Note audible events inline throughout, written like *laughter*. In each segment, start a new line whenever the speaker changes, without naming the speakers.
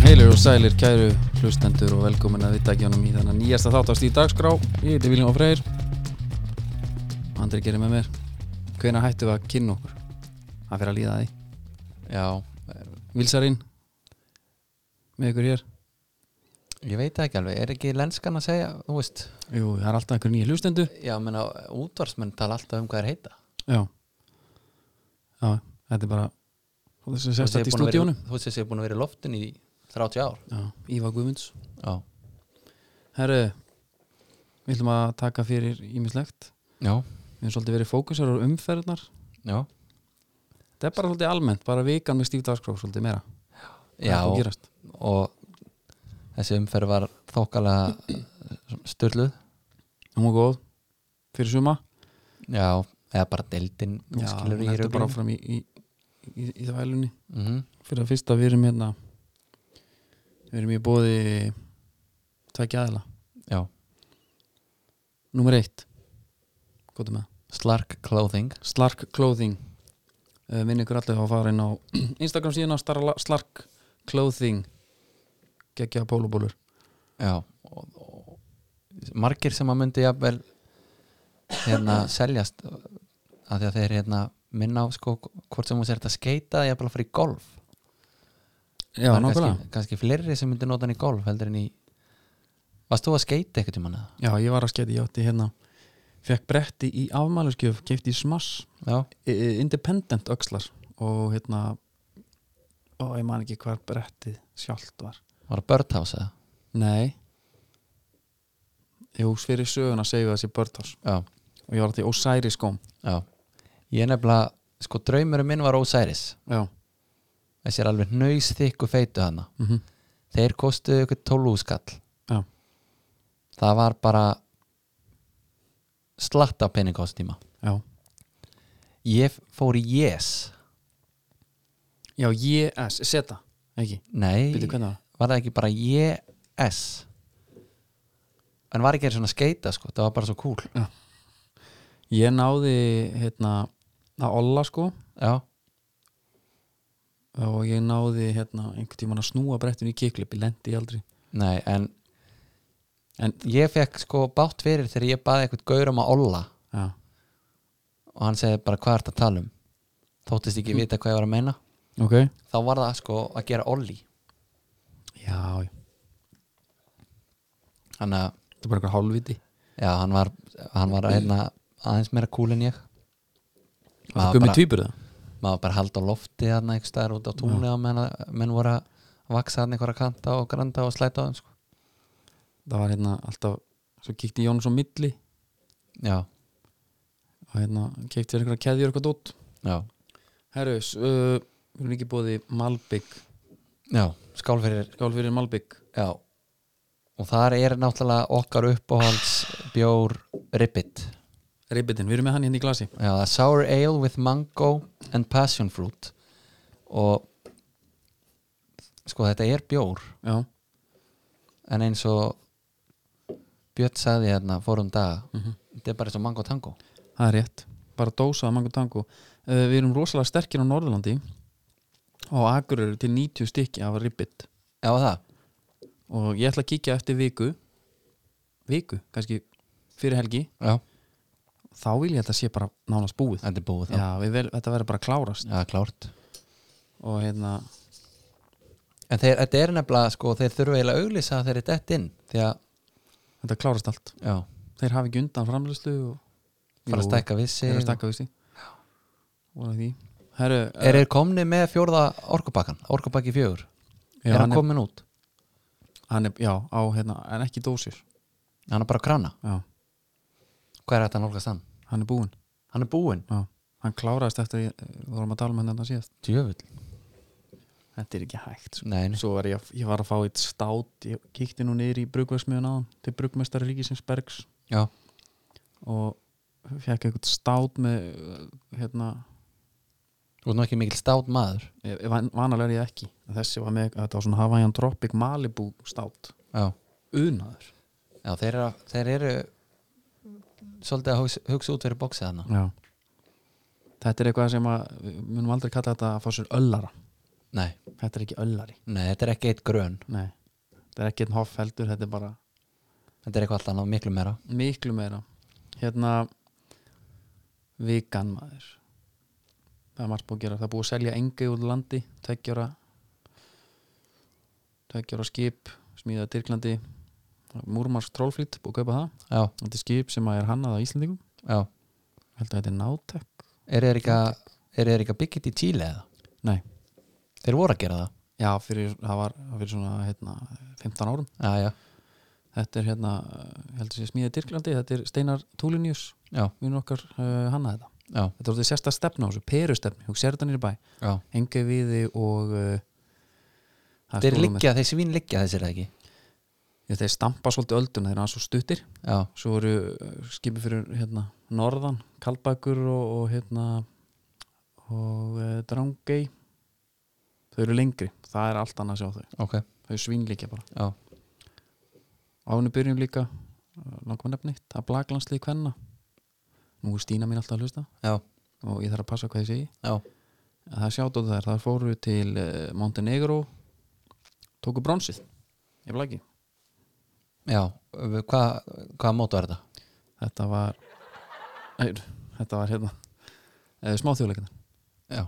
sælir kæru hlustendur og velkomin að vita ekki honum í þannig nýjasta þáttast í dagskrá Ég heiti Viljum og Freyr Andri gerir með mér Hvenær hættum við að kynna okkur? Það fyrir að líða að því
Já,
Vilsarinn Með ykkur hér
ég veit það ekki alveg, er ekki lenskan að segja, þú veist
Jú, það er alltaf einhver nýja hlustendur
Já, menna, útvarsmenn tala alltaf um hvað er heita
Já Já, þetta er bara og Þessi
Þú veist, ég
sérstætt í
er búin að vera-
stúdíónu
Þú veist þessi er búin að vera í loftin í 30 ár
Já, Ívar Guðmunds
Já,
Herru, við ætlum að taka fyrir ímislegt
já,
Við höfum svolítið verið fókusar á umferðnar
já,
Þetta er bara svolítið almennt, bara vikan með stíf dagskrá svolítið meira Það er
já
að gerast.
og þessi umferð var þokkalega *clears throat* styrluð
Hún var góð fyrir suma
Já, eða bara deildin
Já,
skilur
hún
í
heldur bara
röglum
áfram í, í, í, í þvælunni
mm -hmm.
Fyrir að fyrsta við erum hérna Við erum í bóði Tækja aðila
Já,
Númer eitt Góðum með það.
Slark Clothing
Slark Clothing Eh, Minn ykkur allir að fara inn á *clears throat* Instagram síðan á starla- Slark Clothing Gekja pólubólur
Já, og, og margir sem að myndi jafnvel hérna seljast af því að þeir hérna minna á sko hvort sem hún sér þetta skeita eða jafnvel að fara í golf
Já,
Það er
nákvæmlega
kannski, kannski fleiri sem myndi nota hann í golf heldur en í Varst þú að skeita eitthvað tímann eða?
Já, ég var að sketi, ég átti hérna Fekk bretti í afmæluskjöf, keipti í smass
Já,
e- e- independent öxlar og hérna og ég man ekki hvar brettið sjálft var
var að Birdhouse eða?
nei jú, fyrir söguna segjum við þessi Birdhouse
Já,
og ég var alltaf í Osiris skóm
já Ég nefnilega, sko draumurum minn var Osiris
já,
Þessi er alveg nöysþykku feitu hana
mm
Þeir kostuðu ykkur tólúskall
já,
Það var bara slatta penning á þessu tíma
já
Ég fór í Yes
já, JS, seta, ekki
Nei,
Býttu, hvernig var?
var það ekki bara Yes En var ekki einu svona skeita sko Það var bara svo cool
ég náði hérna að olla sko
Já,
og ég náði hérna einhvern tímann að snúa brettinu í kiklipi, lendi ég aldrei
nei, en
en,
ég fekk sko bátt fyrir þegar ég baði eitthvað gaurum að olla
já,
og hann segði bara hvað er þetta að tala um þóttist ekki vita hvað ég var að meina
ok
þá var það sko að gera olli
já, já.
hann, að,
þetta er bara einhver hálfviti
já, hann var, hann var einna, aðeins meira kúl en ég
það er
Maður
gummið
bara-
tvíbur það
maður bara haldi á lofti þarna einhvers staðar út á túnni og menn, menn voru að vaksa þarna einhverja kanta og granda og slæta á þeim sko.
það var hérna alltaf svo kíkti Jóns á milli
já,
og hérna keipti þér einhverja keðjur eitthvað dótt
já,
Herrus, uh, við erum ekki bóði Malbygg,
já, skál fyrir
skál fyrir Malbygg
já, og þar er náttúrulega okkar uppáhalds bjór ribbit
Ribbitinn, við erum með hann hérna í glasi
já, það er sour ale with mango and passion fruit og sko þetta er bjór
Já,
en eins og Björn sagði hérna fórum dag
Mhm.
þetta er bara eins og mango tango
það er rétt, bara dósaða mangu tango uh, Við erum rosalega sterkir á Norðurlandi og akkur eru til 90 stykki af Ribbit
já það,
og ég ætla að kíkja eftir viku viku, kannski fyrir helgi
já.
þá vil ég að þetta sé bara nánast búið
þetta er búið þá já,
Já, við vel, þetta verður bara að klárast
klárt
og hérna,
en þeir, þetta er nefnilega sko þeir þurfa eiginlega að auglýsa þeir eru dett inn því að
þetta klárast allt
já,
þeir hafi ekki undan framlýslu og
fara að
Jú,
stækka við sig
þeir að
og-
stækka vissi voru því Eh, Heru,
er þeir komni með fjórða orkupakkan orkupakki fjögur,
já,
er
hann
hann
er,
komin út
hann er, já, á, hérna, en ekki dósir
hann er bara að krana,
já,
hvað er þetta að nálgast hann
hann er búinn
hann er búinn,
já. hann kláraðist eftir, ég- við vorum að tala um henni þetta síðast
djöfull
þetta er ekki hægt sko.
nei, nei.
svo var ég, ég var að fá eitt stát ég kíkti nú niður í brugvæsmiðun áðan til brugmestari Ríkisins Bergs
já,
og fekk eitthvað stát með eh, hérna,
þú er nú ekki mikil stát maður
ég- ég- van- vanalega er ég ekki þessi var með, þetta var svona Hawaiian Tropic Malibu stát,
já
unaður
Já, þeir eru, þeir eru svolítið að hugsa, hugsa út fyrir bóksið hana
Já. Þetta er eitthvað sem að við munum aldrei kalla þetta að fá sér öllara.
Nei,
Þetta er ekki öllari.
nei, þetta er ekki eitt grön
Nei. þetta er ekki einn hoff heldur, þetta er bara
þetta er eitthvað alltaf annað, miklu meira
miklu meira hérna vikan maður það er margt búið að gera, það er búið að selja engi úr landi, tveggjara tveggjara skip smíða Tyrklandi Múrmars trollflýtt, búið að kaupa það
já,
þetta er skip sem er hannað á Íslendingum
já,
Ég held að þetta er nátek
er þeir ekki að er þeir ekki að byggja þetta í Tíli eða
nei,
þeir voru að gera það,
já, fyrir, það var það fyrir svona, hérna, 15 árum
já, já,
þetta er hérna, ég held að sé smíða Tyrklandi þetta er Steinar Túlinius
já,
við okkar uh, hannað þetta
já,
þetta er orðið sérsta stefna á þessu, perustefni hún sér þetta nýri bæ,
já.
enga viði og uh, það
þeir
stóru með-
liggja, þeir svín liggja þessir eða ekki
Já, þeir stampa svolítið ölduna, þeir eru aðeins svo stuttir
já,
svo eru uh, skipið fyrir hérna, norðan, kaldbækur og, og hérna og uh, drangei þau eru lengri, það er allt annað að sjá þau
ok,
þau svínlíkja bara,
já,
áinu byrjum líka langum að nefni, það er blaglandslið kvenna nú er Stína mín alltaf að hlusta
já,
og ég þarf að passa hvað ég segi
já,
að það sjáttu þær, þar fóru til eh, Montenegro tóku bronsið ég blaki,
já hvað hva mót var þetta?
þetta var Æ, þetta var hérna e, smáþjóðleikina,
Já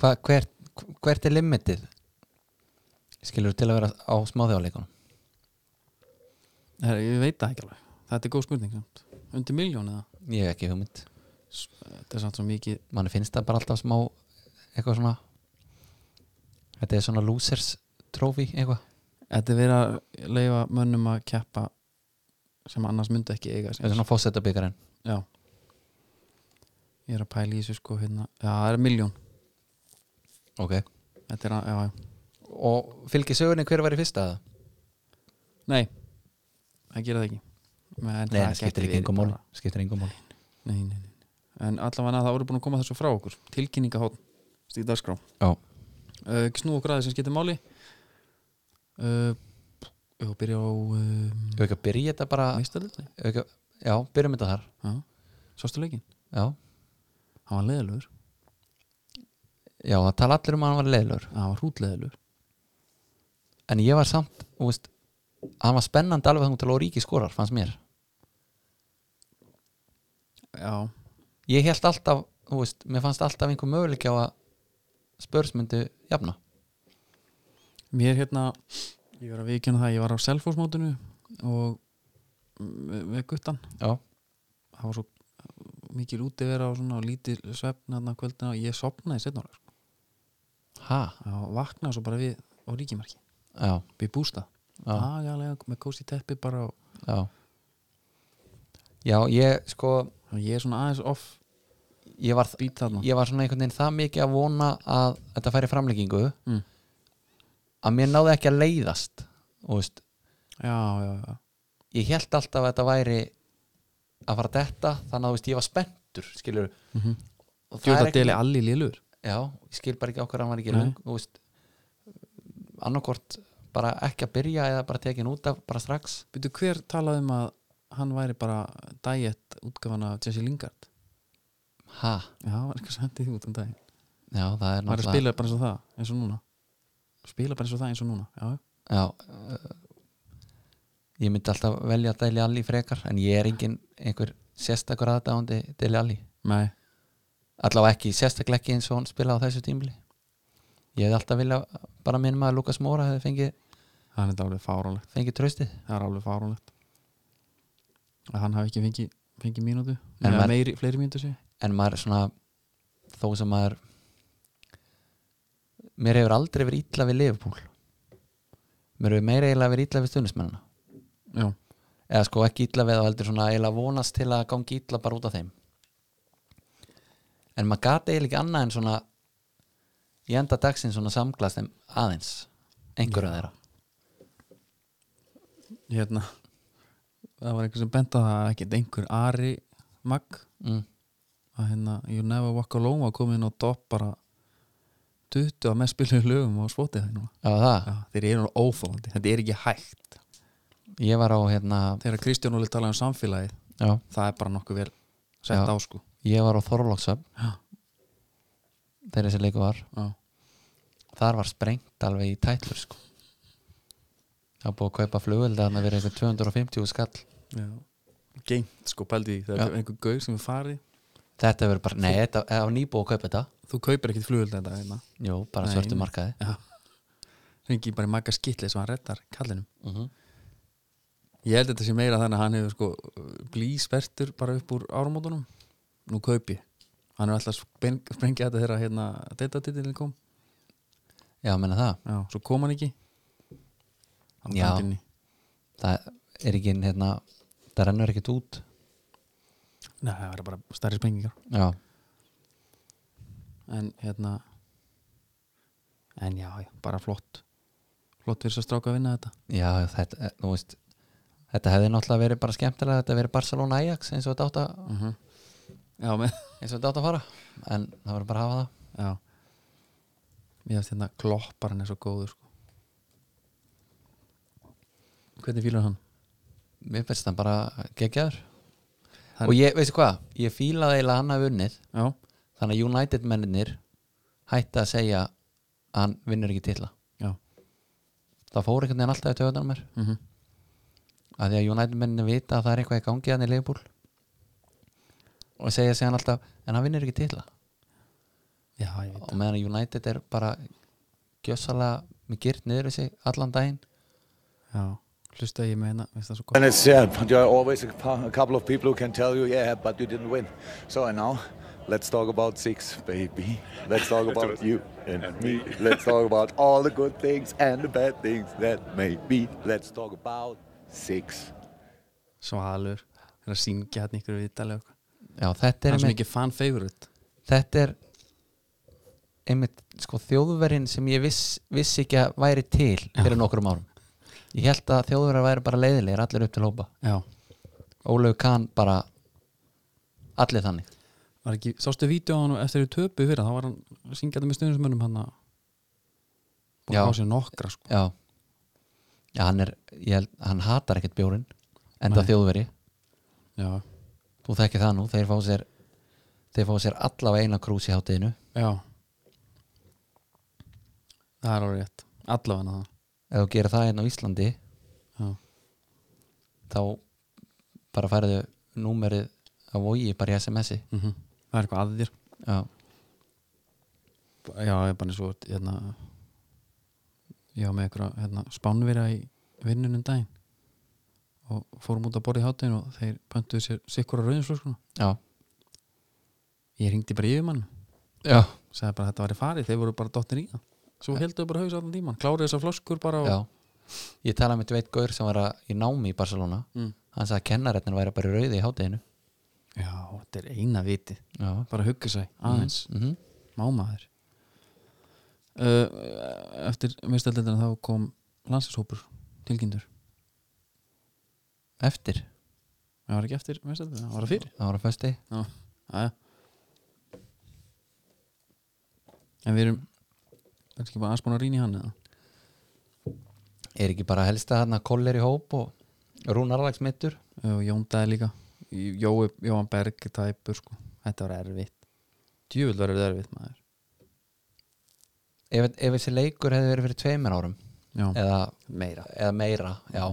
Hva, hvert, hvert er limitið? Skilur til að vera á smáþjóðleikunum
Eh, ég veit það ekki alveg þetta er góð spurning, samt. undir miljón eða
Ég hef ekki hugmynd
S- þetta er samt svo mikið
Manni finnst það bara alltaf smá eitthvað svona Þetta er svona losers trófi eitthvað
þetta er verið að leifa mönnum að keppa sem annars myndi ekki eiga
Þetta
sér.
er svona fósettabyggarinn
já ég er að pæla í þessu sko hérna já, það er miljón,
Ok
þetta er að, já, já
Og fylgir sögunni hver var í fyrsta það?
nei, það gera það ekki Men
Nei, það
gæti
skiptir ekki
verið
engum
bara-
máli Skiptir engum máli
nei, nei, nei. en allavega það voru búin að koma þessu frá okkur tilkynningahótt, stíð dagskrá
Já.
uh, snú okkur aðeins sem skiptir máli uh, ég var að byrja á um,
Ef ekki að byrja þetta bara
Ah. meistarleikni
ef ekki, að- Já, byrjum þetta þar
sástu leikin,
Já
hann var leðalur
Já, það tala allir um að hann var leiðlur
hann var hrútleðalur
En ég var samt, þú veist Hann var spennandi alveg þannig til að Ríki skorar, fannst mér
já,
ég held alltaf, þú veist, mér fannst alltaf einhver möguleik á að spörs myndu jafna,
mér hérna ég var að vikjana það, ég var á selfósmótinu og mm, við guttan,
já,
það var svo mikil útivera og svona og lítið svefn hérna kvöldina og ég sopnaði setna ára sko.
ha,
og vaknaði svo bara við á ríkimarki
já
við bústað
já,
agalega með kósi teppi bara og,
já já, ég, sko
og ég er svona aðeins off
ég var,
beat þarna
ég var svona einhvern veginn það mikið að vona að þetta færi framleggingu
Mm.
að mér náði ekki að leiðast þú veist,
já, já, já,
ég held alltaf að þetta væri að fara þetta þannig að þú veist, ég var spenntur skilur,
mm -hmm.
og það
djóta
er ekki
deli allir lélur
já, ég skil bara ekki okkur hann var ekki
Nei.
lung, þú veist annarkort bara ekki að byrja eða bara tekin út af bara strax
Býtu, hver talaði um að hann væri bara diet útgafan af Jesse Lingard
ha,
já, hann var eitthvað sem hendið út um daginn
já það er
hann var að
náttúrulega
spila bara eins og það, eins og núna spila bara eins og það eins og núna já, já.
já, uh, ég myndi alltaf velja að dæli allir frekar en ég er engin einhver sérstakur aðdáðandi dæli allir,
nei,
allavega ekki sérstaklega ekki eins og hann spilaði á þessu tímli ég hefði alltaf vilja bara minn maður Lukas Móra hefði fengið,
hann er þetta alveg fáránlegt
fengið tröstið
það er alveg fáránlegt að hann hafi ekki fengið fengi mínútu,
En
Eða
maður-
meiri, fleiri mínútu sé
en maður svona þó sem maður mér hefur aldrei verið illa við Liverpool mér hefur meira eiginlega verið illa við stundismennina
já,
eða sko ekki illa við þá heldur svona eiginlega vonast til að gangi illa bara út af þeim en maður gati eiginlega ekki annað en svona í enda dagsinn svona samglast þeim aðeins einhverju þeirra
hérna það var einhver sem benda það að ekkert einhver Ari Mag
mm,
að hérna You Never Walk Alone var komin inn á topp bara 20 að mest spiluðu lögum og spotið það núna
já það,
Já, þeir eru óþólandi, þetta er ekki hægt
ég var á hérna
þegar Kristján Óli talaði um samfélagið
já,
það er bara nokkuð vel sett
Já.
á sko
ég var á Þorlóksöfn
Já.
þegar þessi leiku var
Já.
þar var sprengt alveg í tætlur sko. það er búið að kaupa flugvelda þannig að vera eitthvað 250 skall
Já. Gengt sko pældi í því. Það
Já.
er einhver gaur sem er farið
þetta verður bara, nei, þetta er nýbúið að kaupa þetta
Þú kaupir ekkit flugvöld þetta hérna
jú, bara
Nei.
svörtu markaði
Já Hengi bara í maga skittli sem hann reddar kallinum
mm
Ég held þetta sé meira þannig að hann hefur sko blísvertur bara upp úr árumótunum Nú kaupi Hann er alltaf spen- sprengja þetta þegar hérna deitatitilin kom
já, menna það,
Já, svo kom hann ekki Hann
Já.
fannst inn í.
það er ekki hérna, það rennur ekkert út
Nei, það verður bara stærri sprengingar
já,
en hérna en já, já, bara flott flott fyrir þess að stráka að vinna þetta
já þetta, eh, þú veist þetta hefði náttúrulega verið bara skemmtilega þetta hefði verið Barcelona Ajax eins og þetta átt að
Mhm. já, með,
eins og þetta átt að fara en það verður bara að hafa það
já mér finnst hérna kloppar hann er svo góður sko. hvernig fýlar hann?
mér finnst það bara geggjaður
Hann-
og ég, veistu hvað, ég fílaði eiginlega að hann hafi unnið
já,
þannig að United mennir hætti að segja að hann vinnur ekki titla
já
það fór einhvern veginn alltaf í töðunum mér
mm
að því að United mennir vita að það er eitthvað í gangi hann í leifbúl og segja sig hann alltaf en hann vinnur ekki titla
já, ég veit
og meðan að United er bara gjössalega með gyrt niður þessi allan daginn
já, hlusta ég með hérna finnst það svo
And
gott
it's yeah, but there are always a, pa- a couple of people who can tell you, yeah, but you didn't win. So and now, let's talk about six, baby. Let's *laughs* talk about you and, me. Let's talk *laughs* about all the good things and the bad things that may be. Let's talk about six.
svalur, hann er að syngja hann ykkur við Ítali og eitthvað.
já,
hann
þetta
er
er
svo
einmitt,
mikið fan favorite
þetta er einmitt sko þjóðverinn sem ég viss, vissi ekki að væri til fyrir nokkrum árum ég held að þjóðverðar væri bara leiðilegir allir upp til hópa
já,
Ólegu Kahn bara allir þannig
var ekki, sástu vídeo á hann eftir því töpu fyrir, þá var hann syngjandi með stöðnismönnum hann að búin
Já.
að fá sér nokkra sko
já, já hann er ég held, hann hatar ekkert bjórin enda
Nei.
þjóðveri,
Já,
þú þekki það nú þeir fá sér, þeir fá sér allavega eina krús í hátíðinu,
já Það er alveg rétt Allavega það
ef þú gerir það einn á Íslandi
Já,
þá bara færðu númerið að vogi bara í SMS-i
mm Það er eitthvað að þér
já,
Já, ég er bara svo hérna, Já, með einhverja hérna, spánverja í vinnunum daginn og fórum út að borða í hátinn og þeir pöntuðu sér sikkur á rauðinsflöskuna
já,
Ég ringdi bara yfir mann
já,
sagði bara að þetta væri farið, þeir voru bara dottir í það Svo heldur bara haus allan tíman, kláruðu þessar flöskur bara og...
já. ég talaði með Dveit Gaur sem var að í námi í Barcelona
Mm.
hann sagði að kennarætnin væri bara í rauði í hátíðinu
já, þetta er eina viti
já,
bara hugga sig, aðeins
mm -hmm.
mámaður uh, eftir meðstældindina þá kom landslýshópur tilgindur
eftir
það var ekki eftir meðstældindina, það var það fyrir
það var að fösti
Já, aðja en við erum kannski bara aðspána rýn í hann eða
er ekki bara helsta hann að koller í hóp og Rúnar Alex mittur
og Jón Dæði líka Jói, Jóan Berg tæpur sko þetta var erfitt djúvill var þetta erfitt maður
ef, ef þessi leikur hefði verið fyrir tveimur árum
já,
eða,
meira
eða meira já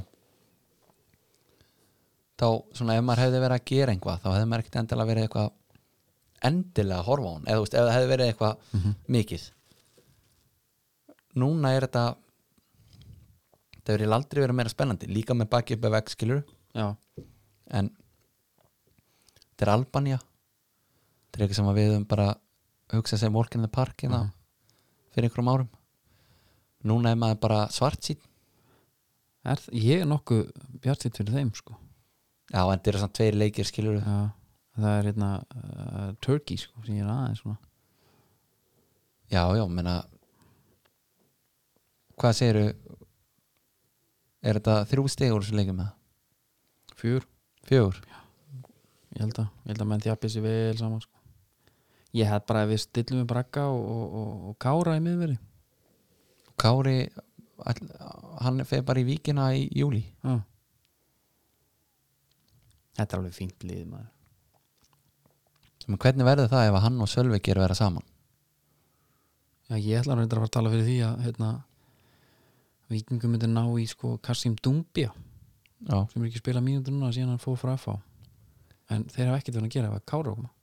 þá svona ef maður hefði verið að gera einhvað þá hefði maður ekkert endilega verið eitthvað endilega að horfa á hún eða þú veist, ef það hefði verið eitthvað mikið núna er þetta það verið aldrei verið meira spennandi líka með baki upp ef ekki skilur
já,
en þetta er Albania þetta er eitthvað sem að við höfum bara hugsað sem Walk in the Park mm. fyrir einhverjum árum núna er maður bara svart sín
er, þ- ég er nokkuð bjartitt fyrir þeim sko
já, en þetta eru samt tveir leikir skilur
já, það er hérna uh, Turkey sko sem ég er aðeins svona
já, já, menna hvað segiru er þetta þrjú stig úr sem leikum með
fjör
fjögur,
ég held að, ég held að menn þjappið sér vel saman sko. ég held bara að við stillum við brakka og, og, og, og kára í miðveri
Kári all, hann fer bara í víkina í júli
já. þetta er alveg fínt lið maður
Men hvernig verður það ef að hann og Sölvi gerir vera saman
já, ég ætla að reynda að fara að tala fyrir því að hérna, Víkingum myndi ná í sko Kassim Dumbia
já,
sem er ekki að spila mínútur núna síðan hann fóð frá FH en þeir hafa ekkert verið að gera ef að kára koma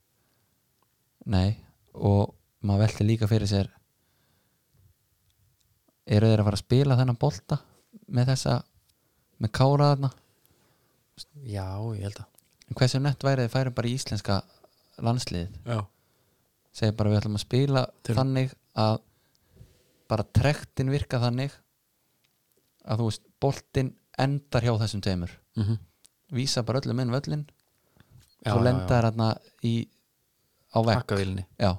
nei og maður velti líka fyrir sér eru þeir að fara að spila þennan bolta með þessa, með kára þarna
Já, ég held að
En hversu nett væri þið færum bara í íslenska landsliðið
Já,
segja bara við ætlum að spila
Til-
þannig að bara trektin virka þannig að þú veist, boltinn endar hjá þessum tveimur
mm -hmm.
vísa bara öllum inn völlin
já,
svo lenda þær hérna í á vekk
Takkavílinni
já,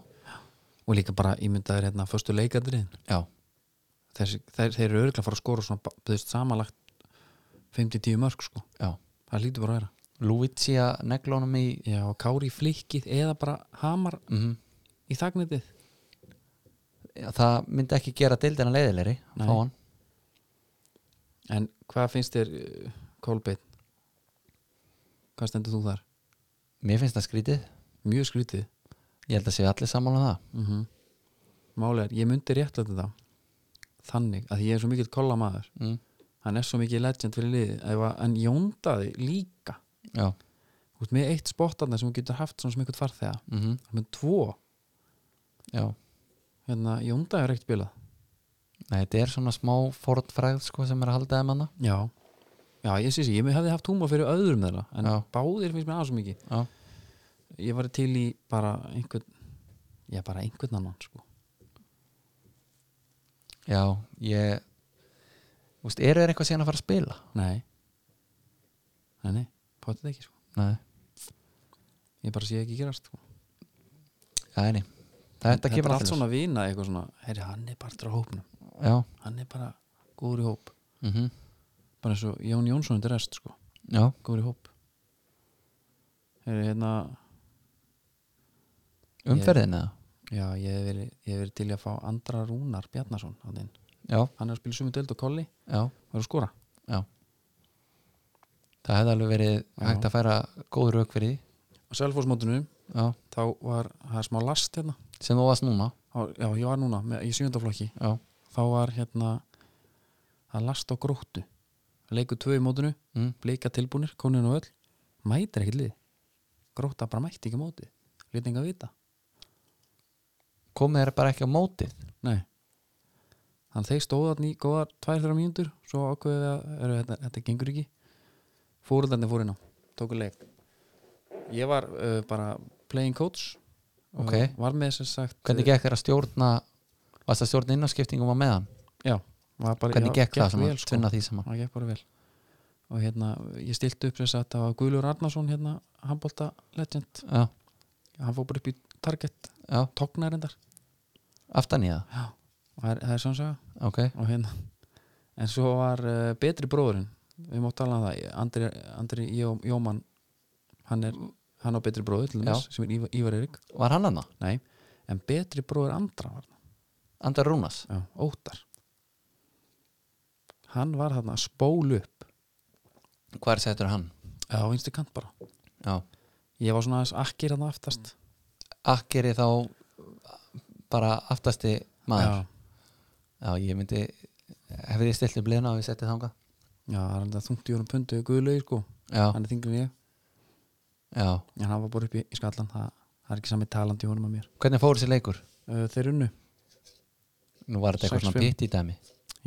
og líka bara ímyndaður hérna föstu leikadriðin
já,
þeir, þeir, þeir eru örgulega að fara að skora svona þú veist, samanlagt 5-10 mörg sko
já
það lítur bara að vera
Luigi að negla honum í
Já, og kári í flikkið eða bara hamar
mm
í þagnitið
það myndi ekki gera deildina leiðilegri
Nei.
fá hann
En hvað finnst þér uh, Kolbeinn? Hvað stendur þú þar?
mér finnst það skrítið,
Mjög skrítið
ég held að séu allir sammála um það
mm -hmm. Máli er, ég myndi réttlæta þetta þannig að ég er svo mikill kolla maður
mm.
hann er svo mikið legend fyrir liðið ef að- en jóndaði líka
já,
út með eitt spottarna sem hún getur haft svona sem einhvern farþega
mm
með tvo,
já
hérna, jóndaði er ekkert bilað
Nei, þetta er svona smá fornfræð sko, sem er að halda þeim hana
Já Já, ég sé sér, ég hefði haft húma fyrir öðrum þeirra en
Já.
báðir finnst mér aðeins svo mikið
Já.
Ég var til í bara einhvern Já, bara einhvern annan sko
Já, ég Þú veist, eru þeir eitthvað síðan að fara að spila?
Nei Nei, nei, potið ekki sko
Nei,
Ég bara sé ekki gerast sko
já, nei Þetta
En
kemur
er allt
alltaf
svona vina eitthvað svona Herri, hann er bara drá hópnum
Já,
Hann er bara góður í hóp
mm
Bara eins og Jón Jónsson undir rest sko
já,
Góður í hóp Herri, hérna
umferðin eða
Já, ég hef verið, ég hef verið til í að fá Andra Rúnar Bjarnason á þinn
Já,
hann er að spila sumu döld og kolli
já,
og er að skora
já Það hefði alveg verið hægt að færa góð rauk fyrir því
og selfósmótinu
Já,
þá var það er smá last hérna
sem þú varst núna
Á- já ég var núna með, í sjöndaflokki
Já,
þá var hérna það er last á gróttu leikur tvö í mótinu
mm.
blika tilbúnir konin og öll mætir ekkert lið grótta bara mætti ekki móti litninga vita
komið þeir bara ekki á mótið
nei þannig þeir stóðu þarna í góðar tvær þrjá mínútur svo ákveðið að eru, þetta, þetta gengur ekki fóruldarnir fóru inn á tóku leik ég var uh, bara playing coach og
Ok.
var með sem sagt
Hvernig gekk þeir að stjórna Varst að stjórna innafskiptingum á meðan?
Já, var bara,
Hvernig
já,
gekk það sem
vel,
að
sko.
tvinna því saman?
Það gekk bara vel og hérna, ég stilti upp þess að það var Guðlur Arnarsson hérna, handbólta legend,
Já,
hann fór bara upp í target,
já,
tóknar endar
aftan í það
og það er, það er svona saga
Ok,
og hérna, en svo var uh, betri bróðurinn, við mátt tala um það Andri, Andri Jó, Jóman hann er, hann á betri bróður til
Já.
þess, sem er Ívar, Ívar Eirik
var hann hann?
nei, en betri bróður Andra var það,
Andar Rúnas?
já, Óttar hann var þarna að spólu upp
Hvað er settur hann?
Já, vinstu kant bara
Já,
Ég var svona aðeins akkir hann aftast
Mm. Akkeri þá bara aftasti maður Já,
Já,
ég myndi hefði ég stilt upp liðna og ég setti þangað
já, það er alltaf þungt í honum pundu Guðlaug, sko,
Já,
hann er þingur en ég
já
En hann var bara upp í, í skallan það, það er ekki sami talandi í honum að mér
Hvernig fór þessi leikur?
uh, Þeir unnu
Nú var þetta eitthvað
6-5.
svona pitt í dæmi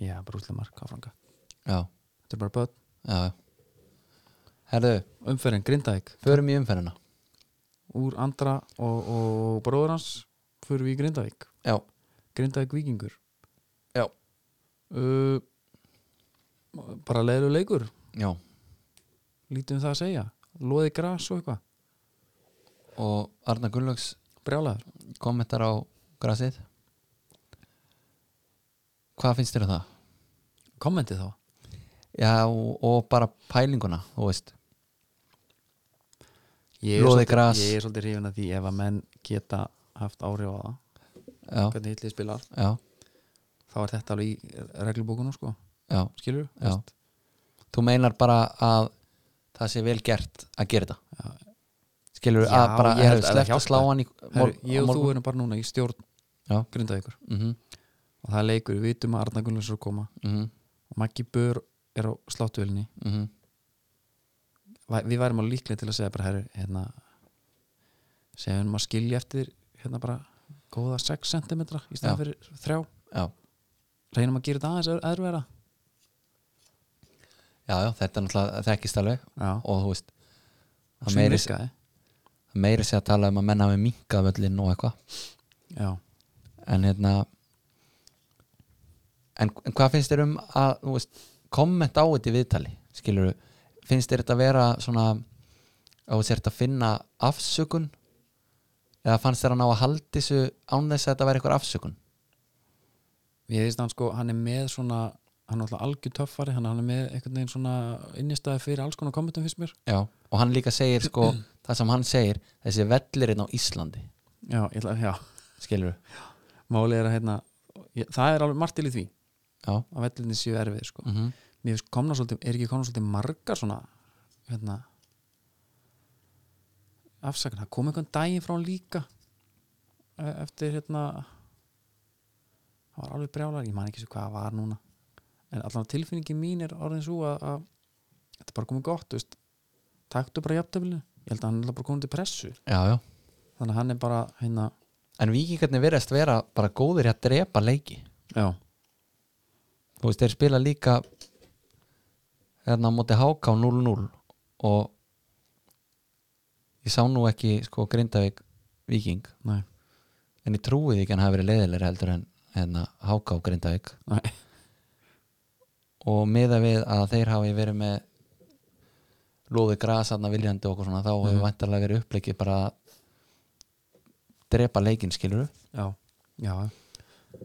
Já, bara útlega mark áfranga
Já,
Þetta er bara börn
já Herðu,
Umferðin, Grindavík
förum í umferðina
Úr Andra og, og bróður hans Fyrir við í Grindavík
Já,
Grindavík vikingur
Já.
uh, Bara leiður leikur
já
Lítið um það að segja Loði gras og eitthvað
Og Arna Gunnlaugs
Brjálæður
kommentar á grasið Hvað finnst þér um það?
Kommentið þá
Já, og, og bara pælinguna, þú veist
Ég er
Loði
svolítið-
gras.
Ég er svolítið hrifin af því ef að menn geta haft áhrif á það
Já,
hvernig hillið spilar
já,
þá er þetta alveg í reglubókunum sko
já
skilur
Já. þú meinar bara að það sé vel gert að gera þetta skilur
Já,
að bara
ég held að
hefur
það
sleppt að
hjálpar.
slá hann í
Her, Ég og þú
morgun
erum bara núna í stjórn
Já.
grindavíkur
mm -hmm,
og það er leikur, við vitum að Arna Gunnlaugs er að koma
mm -hmm,
og Maggi Bör er á sláttuvelinni
mm
Væ- við værum á líklega til að segja bara herri, hérna segja um að skilja eftir hérna bara góða 6 cm í
Já.
staðan fyrir 3
já.
reynum að gera þetta aðeins öð- öðruverða
já, já, þetta er náttúrulega þekkist alveg
já,
og þú veist það
sem
meiri,
virkaði
það meiri sér að tala um að menna með minkað völlin og eitthvað
já,
en hérna en, en hvað finnst þér um að þú veist, komment á þetta í viðtali skilur finnst þér þetta að vera svona að þú sért að finna afsökun eða fannst þér að ná að haldi þessu án þess að þetta væri eitthvað afsökun
ég veist hann sko hann er með svona, hann er alltaf algjör töffari hann hann er með einhvern veginn svona innistæði fyrir alls konar kommentum fyrst mér
já. og hann líka segir *clears throat* sko það sem hann segir, þessi vellirinn á Íslandi
já, ég ætla, já,
skilur
málið er að hérna ég, það er alveg margt til í því
já,
að vellinni séu erfið sko
mhm
mér finnst komna svolítið, er ekki komna svolítið margar svona hérna afsakan, það kom einhvern daginn frá hann líka e- eftir hérna það var alveg brjálar, ég man ekki svo hvað það var núna en allan tilfinningi mín er orðin svo að, að þetta er bara komið gott, þú veist taktu bara jafntöflinu, ég held að hann er bara komið til pressu
já, já.
þannig að hann er bara hérna,
en vikingarnir verðast vera bara góðir í að drepa leiki
já,
þú veist, þeir spila líka hérna á móti HK 0-0 og ég sá nú ekki sko Grindavík Víking
næ,
en ég trúið ekki að hann hafi verið leiðilegri heldur en hérna HK og Grindavík
næ
og miða við að þeir hafi verið með loði grasaðna viljandi og okkur svona þá hefur
Mhm.
vantarlega verið uppleikið bara að drepa leikinn skilur
*laughs* já, já,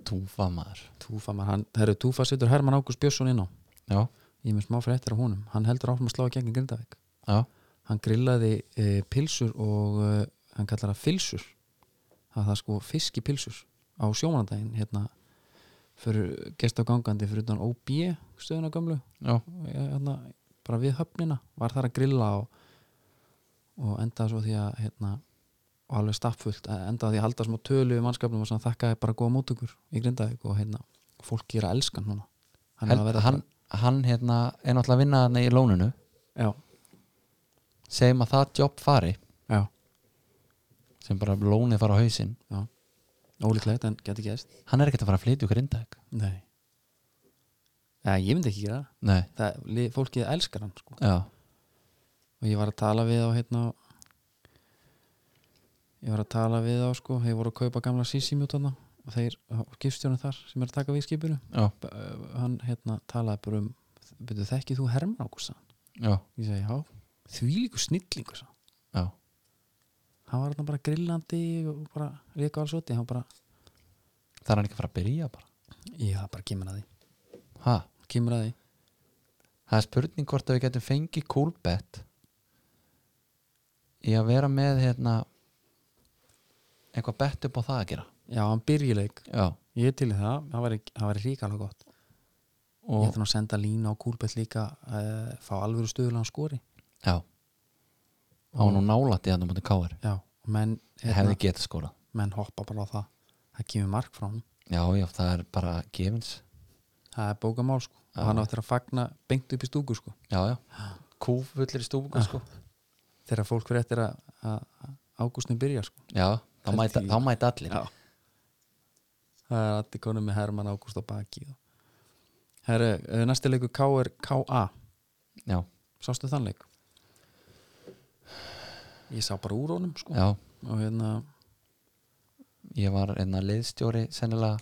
túfa maður
Túfa maður, hann, herru, Túfa setur Herman Ágúst Björnsson inn á
já,
ég er með smá fréttir af honum hann heldur áfram að slá í gegn í Grindavík
já,
hann grillaði e, pilsur og e, hann kallar það filsur það er það sko fiskipilsur á sjómanandaginn hérna fyrir gest á gangandi fyrir utan OB stöðuna gamlu
já,
e, hérna, bara við höfnina var þar að grilla og, og endaði svo því að hérna, og alveg stappfullt e, endaði því að halda smá tölu í mannskapnum og svona þakkaði bara góða mótökur í Grindavík og hérna fólk gera elskan núna er að
Hel,
verða
hann, hann hérna er náttúrulega að vinna hann í lóninu
bara-
segjum að það jobb fari
já, já
sem bara lónið fara á hausinn
Já, ólíklegt en geti gerst
hann er ekkert að fara að flytja úr grindag
Nei ja, Ég myndi ekki gera það.
nei,
það li- Fólkið elskar hann sko.
já,
og ég var að tala við á hérna ég var að tala við á sko, þeir voru að kaupa gamla sísimjútana og þeir, gifstjónu þar sem er að taka við skipinu
já,
B- ö, hann hérna talaði bara um byrju þekkið þú Herman Ágústa
já,
ég segi já, þvílíku snillingu sagði hann.
já
hann var hérna bara grillandi og bara reka alls úti, hann bara,
það er hann ekki að fara að byrja bara
já, bara kemur að því
ha,
kemur að því,
það er spurning hvort að við getum fengið kúlbett í að vera með hérna eitthvað bett upp á það að gera
já, hann byrjuleik
já,
Ég er til í það, það væri, það væri ríkalega gott Ég
og,
ætla nú að senda lína á kúlbett líka uh, fá alvöru stöðulega skori
já á nú nálætti hann um þetta káir
Já, og menn,
hefði
hérna,
getað skórað
menn hoppa bara á það það kemur mark frá hann,
já, já, það er bara gefins
það er bókamál sko og hann áttir að fagna beint upp í stúku sko
já, já, kúfullir í stúku sko.
þegar fólk fyrir eftir að, að ágústin byrja sko
já, þá mæta, þá mæta allir já,
Það er allir konum með Herman Ágúst á baki og... Herru, eh, næsti leikur K er KA
já,
Sko. Sástu þann leik? Ég sá bara úr honum sko og hérna,
ég var einna liðstjóri sennilega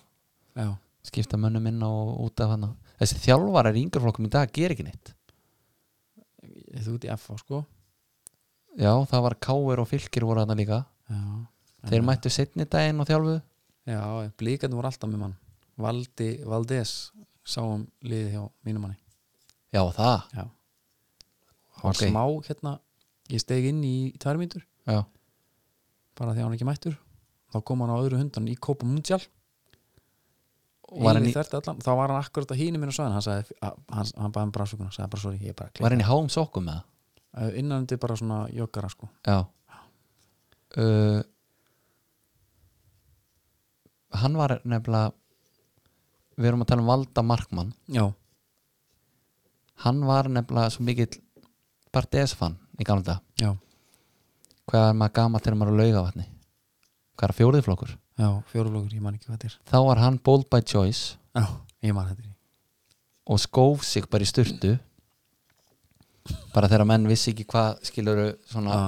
já,
skipta mönnum inn og út af hana þessi þjálfarar í yngreflokkum í dag ger ekki neitt
þú ert í FA sko
já, það var Káir og Fylkir voru hana líka
Já,
þeir mættu setni daginn og þjálfu
já blíkandi voru alltaf með mann Valdi, Valdes sáum liðið hjá mínum manni
já, það,
já. hann var
Ok.
smá hérna ég steg inn í tvær mínútur
já,
bara því að hann er ekki mættur þá kom hann á öðru hundan í Kópa Mundial
Var
var
hann
hann
í-
í þerti allan þá var hann akkurat að hínu minna svo hann sagði, að, hann, hann baði um brásökuna sagði bara sorry, ég er bara
var
klík
henni háum sokkum með
innan undir bara svona joggara sko
það já uh, hann var nefnilega við erum að tala um valda markmann
já,
hann var nefnilega svo mikill Bardes-fan í gamla dag
já,
hvað er maður gamall þegar maður er á laugavatni hvað er fjóriðflokkur
já, fjóruflokkur, ég man ekki hvað þetta
þá var hann bold by choice
er já, ég man þetta er
og skóf sig bara í styrtu bara þegar menn vissi ekki hvað skiluru svona
Já.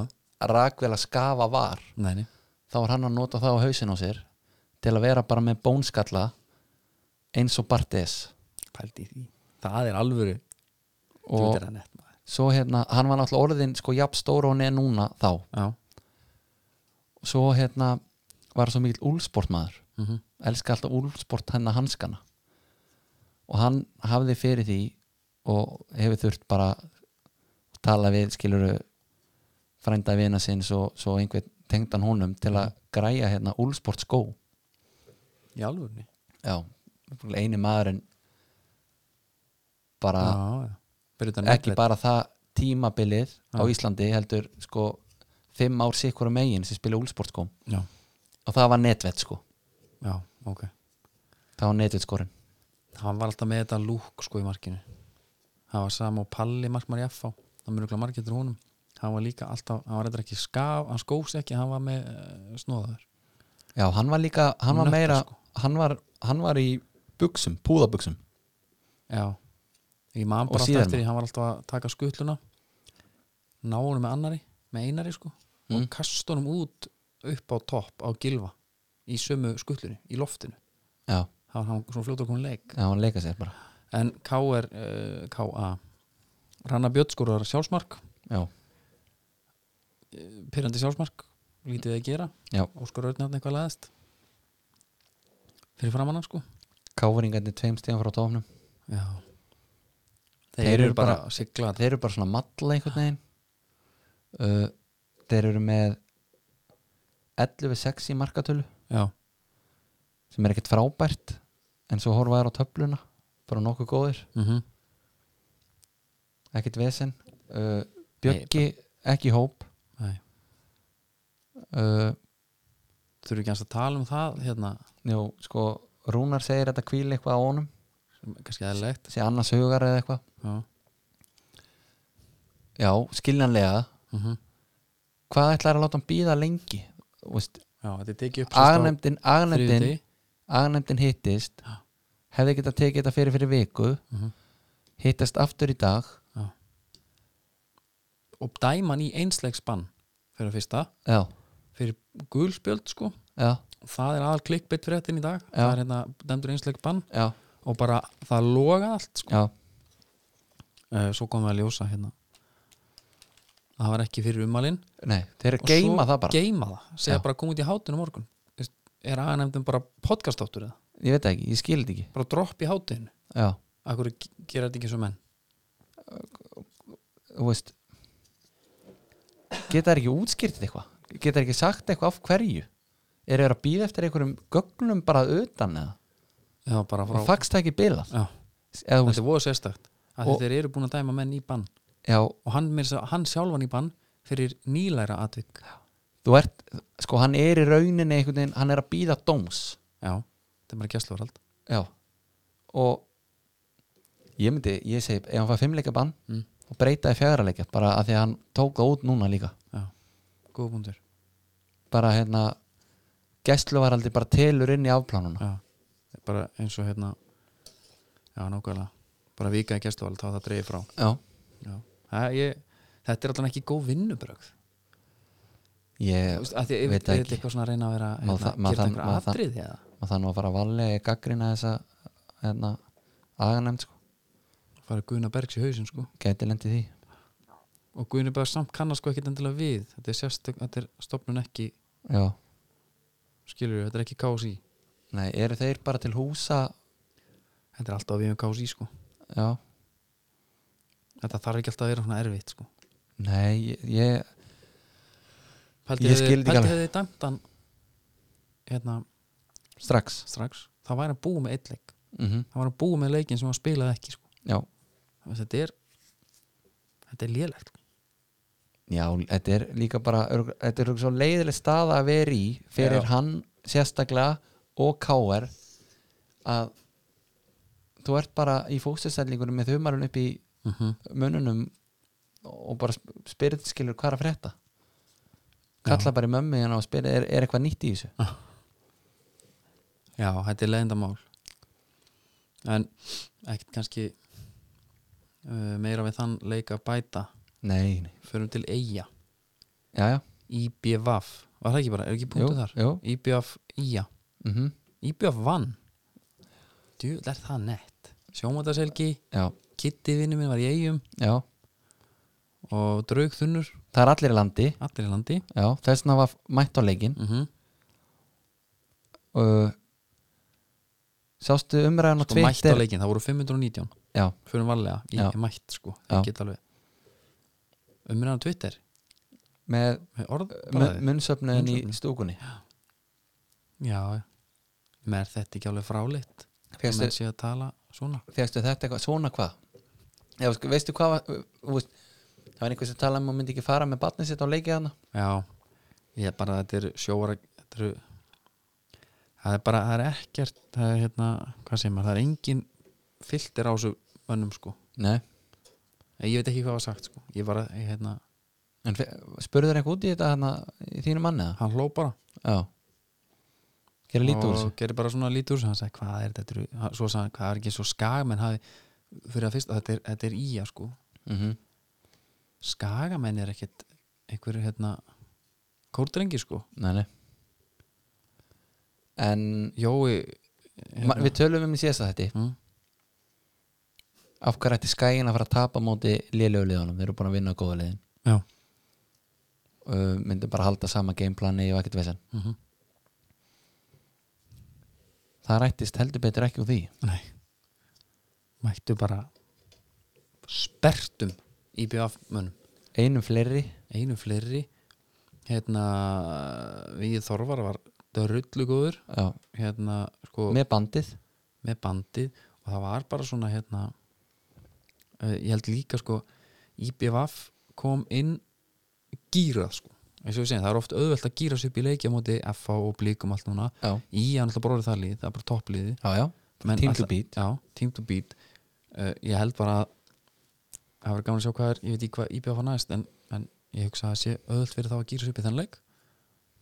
rakvel að skafa var
nei, nei,
þá var hann að nota það á hausin á sér til að vera bara með bónskalla eins og Bartes
pældi í því það er alvöru
og
Djú, þetta er nett, maður.
svo hérna, hann var náttúrulega orðin sko jafn stóra og hann er núna þá
já,
svo hérna var svo mikill úlsportmaður
mm
elska alltaf úlsport hennar hanskana og hann hafði fyrir því og hefur þurft bara tala við skiluru frænda vina sinns og svo einhver tengdan honum til að græja hérna úlsport skó
í alvörni
já, eini maðurinn bara
já, já. Fyrir utan
Ah. ekki
Netflix.
bara það tímabilið á Íslandi heldur sko fimm ár sikkur megin sem spila úlsport skó
já,
og það var netvett sko,
já, ok
það var netvett skorinn
hann var alltaf með þetta lúk sko í markinu hann var sam og Palli markmar í FH það mjög ekki markið til honum hann var líka alltaf, hann var eitthvað ekki skaf hann skófs ekki, hann var með uh, snóðaður
Já, hann var líka, hann var
Nökkar,
meira
sko.
hann, var, hann var í buksum, púðabuksum
já, ég man
Og
bara alltaf
síðan?
eftir því hann var alltaf að taka skutluna ná honum með annari með einari sko og
Mhm.
kasta honum út upp á topp á gilva í sömu skutlunni, í loftinu
Já,
það var hann svona fljóta okkur leik
já hann leika sér bara
en K er uh, K.A. Ranna Björnskorðar sjálfsmark
Já,
pyrrandi sjálfsmark, lítið að gera
já,
Óskar Örn hann eitthvað laðist fyrir framann hann sko
káfringarnir tveim stíðan frá tófnum
já þeir,
Þeir
eru
eru
bara
bara-
að sigla
Þeir eru bara svona matla einhvern veginn uh, Þeir eru með 11-6 í markatölu
já,
sem er ekkert frábært en svo horfa þær á töfluna bara nokkuð góðir,
mm
ekkert vesen uh, Bjöggi, ekki í hóp
nei
uh,
þurfum ekki hans að tala um það hérna,
Jú, sko, Rúnar segir þetta hvíli eitthvað á honum
sem er kannski eðlilegt
sé annars hugar eða eitthvað
já,
Já, skiljanlega
mm
Hvað ætlar að láta hann býða lengi? Þú veist,
já þetta er tekið upp sérst á
Agnefndin Agnefndin,
þriðjudegi.
agnefndin hittist
Já.
hefði getað tekið þetta fyrir fyrir viku
Mhm.
hittast aftur í dag
Já. og dæman í einslegs bann fyrir að fyrsta,
Já,
fyrir gulspjöld sko
já,
það er aðal klikkbytt fyrir þetta í dag
Já.
það er hérna, dæmdur einslegs bann
já,
og bara það loga allt sko
já
uh, svo komum við að ljósa hérna að það var ekki fyrir umalinn
Nei, þeir eru að geima það bara
geima það, segja
Já.
bara að koma út í hátunum morgun Þú veist, er aðeins bara podcastáttur eða
Ég veit það ekki, ég skil þetta ekki
bara dropp í hátinu
Já,
að hverju ge- gera þetta ekki svo menn
þú veist Geta þær ekki útskýrt eitthvað? Geta þær ekki sagt eitthvað af hverju? Eru þeir að býða eftir einhverjum gögnum bara að utan eða?
það var bara frá
Og fagst það ekki bilað?
já,
Eða, þú veist,
þetta voru sérstakt að
Og-
þeir eru búin að dæma menn í bann
já,
og hann, meira að segja- hann sjálfan í bann fyrir nýlæra atvik
þú ert, sko hann er í rauninni einhvern veginn, hann er að býða dóms
já, þetta er bara gæsluvarald
já, og ég myndi, ég segi ef hann fær fimmleika bann
Mm.
og breytaði fjögraleika bara að því að hann tók það út núna líka
já, góða búndur
bara hérna gæstluvaraldi bara telur inn í afplánuna
já, bara eins og hérna já, nákvæmlega bara vika í gæsluvarald, þá er það dreifir frá
já,
Já. Það, ég, þetta er alltaf ekki góð vinnubrögð
ég
Vist, að því, ef,
veit
veit
það
ekki
ekki
eitthvað svona að reyna að vera
Má
hérna,
það- má
gera
það-
einhver
má það-
atrið eða
og þannig að fara varlega gaggrina þessa hérna, aganemnd sko
fara Guðna Bergs í hausinn sko
gæti lendi því,
og Guðna Bergs samt kannast sko ekkit endilega við þetta er sérstök, þetta er stofnun ekki
já
skilur þetta er ekki KSI
nei, eru þeir bara til húsa
þetta er alltaf við um KSI sko
já,
þetta þarf ekki alltaf að vera svona erfitt sko
nei, ég, ég
Pældi
Ég
hefði-
skil þetta ekki
Pældi
alveg.
hefði dæmt hann hérna
strax
strax þá væri hann búið með eitt leik
mm
þá væri hann búið með leikin sem hann spilaði ekki sko
já,
Þannig að þetta er þetta er lélegt sko.
já, þetta er líka bara örg- þetta er örg- svo leiðileg staða að vera í fyrir
Já.
hann sérstaklega og K.R. að þú ert bara í fókstustællingunum með þumarinn upp í
Mhm.
mununum og bara sp- spyrir skilur hvað er að frétta kalla bara í mömmu hérna og spyrir er, er eitthvað nýtt í þessu
Ah. Já, þetta er leiðindamál En ekkert kannski uh, meira við þann leik að bæta
nei, nei,
Förum til Eyja
já, já
IBVAF Var það ekki bara, er ekki
jú,
punktu þar?
jú,
IBVAF Eyja
mm
IBVAF vann Djú, er það nett Sjómataselgi,
já,
Kitty vinnu minn var í Eyjum
já
Og draugþunnur,
það er allir í landi,
allir í landi
já, þess vegna var mætt á leikin
mm -hmm.
uh, sástu umræðan á
Sko mætt á
Twitter
leikinn, það voru 519
já,
Förum varlega, í,
Já.
mætt sko
Já.
Það geta alveg Umræðan á Twitter,
með
með orð
mun- munnsöfnuðin í
Munnsöfnuðin.
stúkunni
Já, með er þetta ekki alveg fráleitt að
fegstu,
menn sé að tala svona
fegstu þetta eitthvað, svona hvað já, sko, veistu hvað var- þú veist, það var einhver sem talaði um að myndi ekki fara með batnið sitt á leikið hana
Já, ég er bara þetta er sjóara þetta er, það er bara, það er ekkert það er hérna, hvað segir maður, það er engin filter á þessu mönnum sko
Nei.
ég veit ekki hvað var sagt sko, ég bara, ég, hérna
en fe- spurðu þér eitthvað út í þetta hana, í þínu manni eða?
hann hló bara
já gera lítið úr þessu
og gerir bara svona lítið úr þessu, hann sagði hvað er þetta, þetta er, svo sagði, hann, hvað er ekki svo skagmenn hafi, fyrir að fyrst þetta er, þetta er ía sko,
Mhm.
skagamenn er ekkert einhverju hérna kórdrengi sko
nei, nei en
Jói
ma- við tölum um í síðasta þetta
Hérna. Mm.
af hvað rætti skæin að fara að tapa á móti lélegu liðunum, þeir eru búin að vinna góða liðin
Já,
uh, myndi bara halda sama gameplani og ekkert vesen
Mhm.
það rættist heldur betur ekki úr því
nei Mættu bara spertum IBF mönnum
einum fleiri
Einu fleiri hérna við Þorvar var dörrullu góður
já,
hérna sko
með bandið
með bandið og það var bara svona hérna uh, ég held líka sko IBF kom inn gýrað sko eins og við segjum það er oft auðvelt að gýra sig upp í leikja móti FH og blíkum allt núna
já,
í hann alltaf bróðið það lið, það er bara toppliði
já, já,
Men
Team to
alltaf-
beat.
já, team to beat uh, ég held bara að það verður gaman að sjá hvað er, ég veit ekki hvað IBF var næst en, en ég hugsa að það sé öðvöld fyrir þá að gýra sig upp í þann leik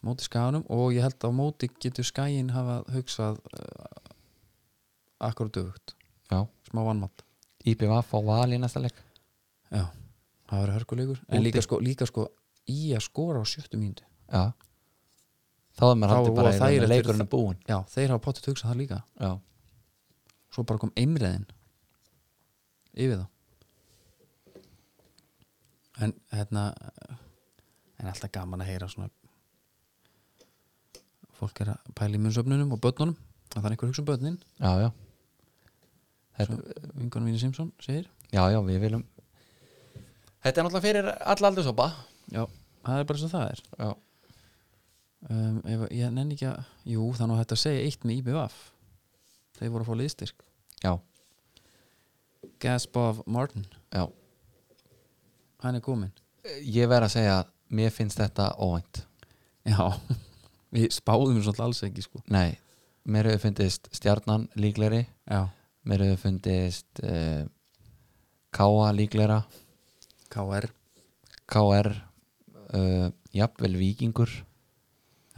móti skáðanum og ég held að á móti getur skæin hafa hugsað uh, akkurat öfugt
já.
smá vannmatt
IPVF á val í næsta leik
já, það verður hörkuleikur en
Úti.
líka sko, líka sko í að skora á sjöttu mínútu
já þá er maður
Þá
haldið
er voða
bara í raun
þægilegt
að leikurinn
fyrir
er búinn
já, þeir hafa potið hugsað það líka
já,
svo bara kom einræðin yfir þá en hérna en alltaf gaman að heyra svona fólk er að pæla í munnsöfnunum og börnunum að það er einhver hugsa um börnin
já, já
Svo
þetta,
vingunum Víni Simpson segir
já, já, við viljum þetta er náttúrulega fyrir alla aldursópa
já, það er bara svo það er
já,
um, ef, ég nenni ekki að jú, þannig að þetta segja eitt með IBVF þeir voru að fá liðstyrk
já,
Gaspov Martin,
já.
hann er komin
ég verð að segja að mér finnst þetta óvænt
já, *laughs* við spáðum svolítið alls ekki sko
nei, mér hefur fundist stjarnan líkleri
já,
mér hefur fundist uh, K.A. líklera
KR
K.R. Uh, jafnvel vikingur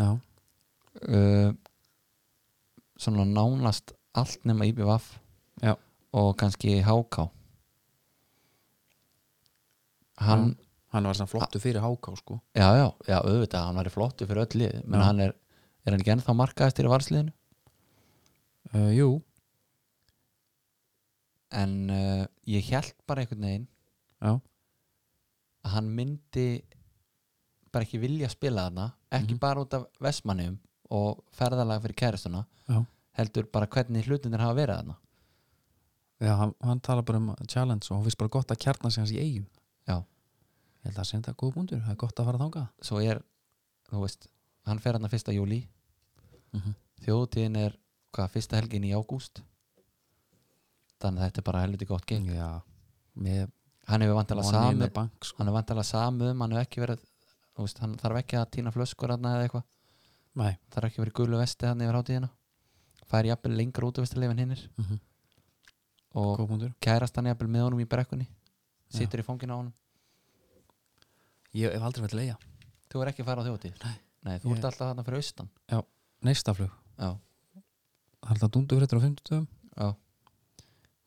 já
uh, svona nánast allt nema IBVF
Já.
og kannski HK hann
hann var svona flottu fyrir háká sko
já. já, já, auðvitað, hann væri flottu fyrir öll lið menn
Já.
hann er, er hann ekki ennþá markaðist í varsliðinu
uh, jú,
en uh, ég held bara einhvern veginn
já,
að hann myndi bara ekki vilja spila þarna ekki
Mhm.
bara út af Vestmanniðum og ferðalega fyrir kæristuna
Já.
heldur bara hvernig hlutinir hafa verið þarna
já hann, hann tala bara um challenge og hann finnst bara gott að kjarna sig hans í eigum
Já.
ég held að það sé þetta góð búndur, það er gott að fara þangað
svo er, þú veist hann fer hann að fyrsta júli
Mhm.
þjóðtíðin er, hvað, fyrsta helgin í ágúst þannig að þetta er bara helviti gott geng
já, með
hann hefur vantilega
money in
samið
the bank sko.
hann hefur vantilega samið um, hann hefur ekki verið þú veist, hann þarf ekki að tína flöskur hann eða eitthvað,
nei,
þarf ekki að vera í gulu vesti hann yfir hátíðina fær jafnvel lengur út af vestileif en hinnir
Mhm.
og
góð búndur
kærast hann jafnvel með honum í brekkunni situr í fanginu á honum
Ég hef aldrei verið til eiga
þú er ekki að fara á þjótið
Nei.
þú
Ég-
ert alltaf þarna fyrir austan
Neistaflug,
já,
það er alltaf dundufréttur á 50
já,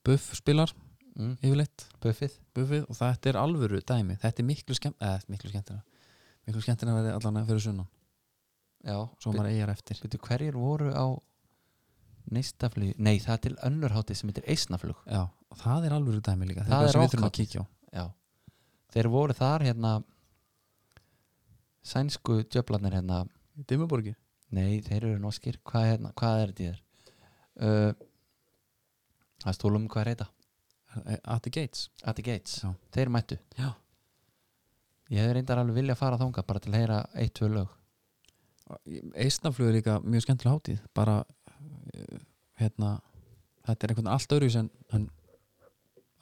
Buff spilar
mm,
yfirleitt
buffið
Buffið og þetta er alvöru dæmi Þetta er miklu skemmt, eða miklu skemmtina Miklu skemmtina verið allan að fyrir sunnan
já,
Svo maður eigar eftir
Veitu hverjir voru á neistaflug, nei það er til önnurhátti sem heitir eisnaflug
Já, og það er alvöru dæmi líka
Það
er
er
sem við þurfum að
rockhátíð.
kíkja á
já. þeir voru þar hérna sænsku djöflarnir hérna
Dimmuborgir
nei þeir eru norskir, hvað, er hérna, hvað er þetta í þér uh, það stúlum hvað er þetta
At the Gates
at the gates,
Já.
þeir mættu
Já.
ég hefði reyndar alveg vilja að fara þangað bara til að heyra eitt, tvö lög
Eistnaflug er líka mjög skemmtilega hátíð bara eh, hérna, þetta er einhvern veginn allt öðru en, en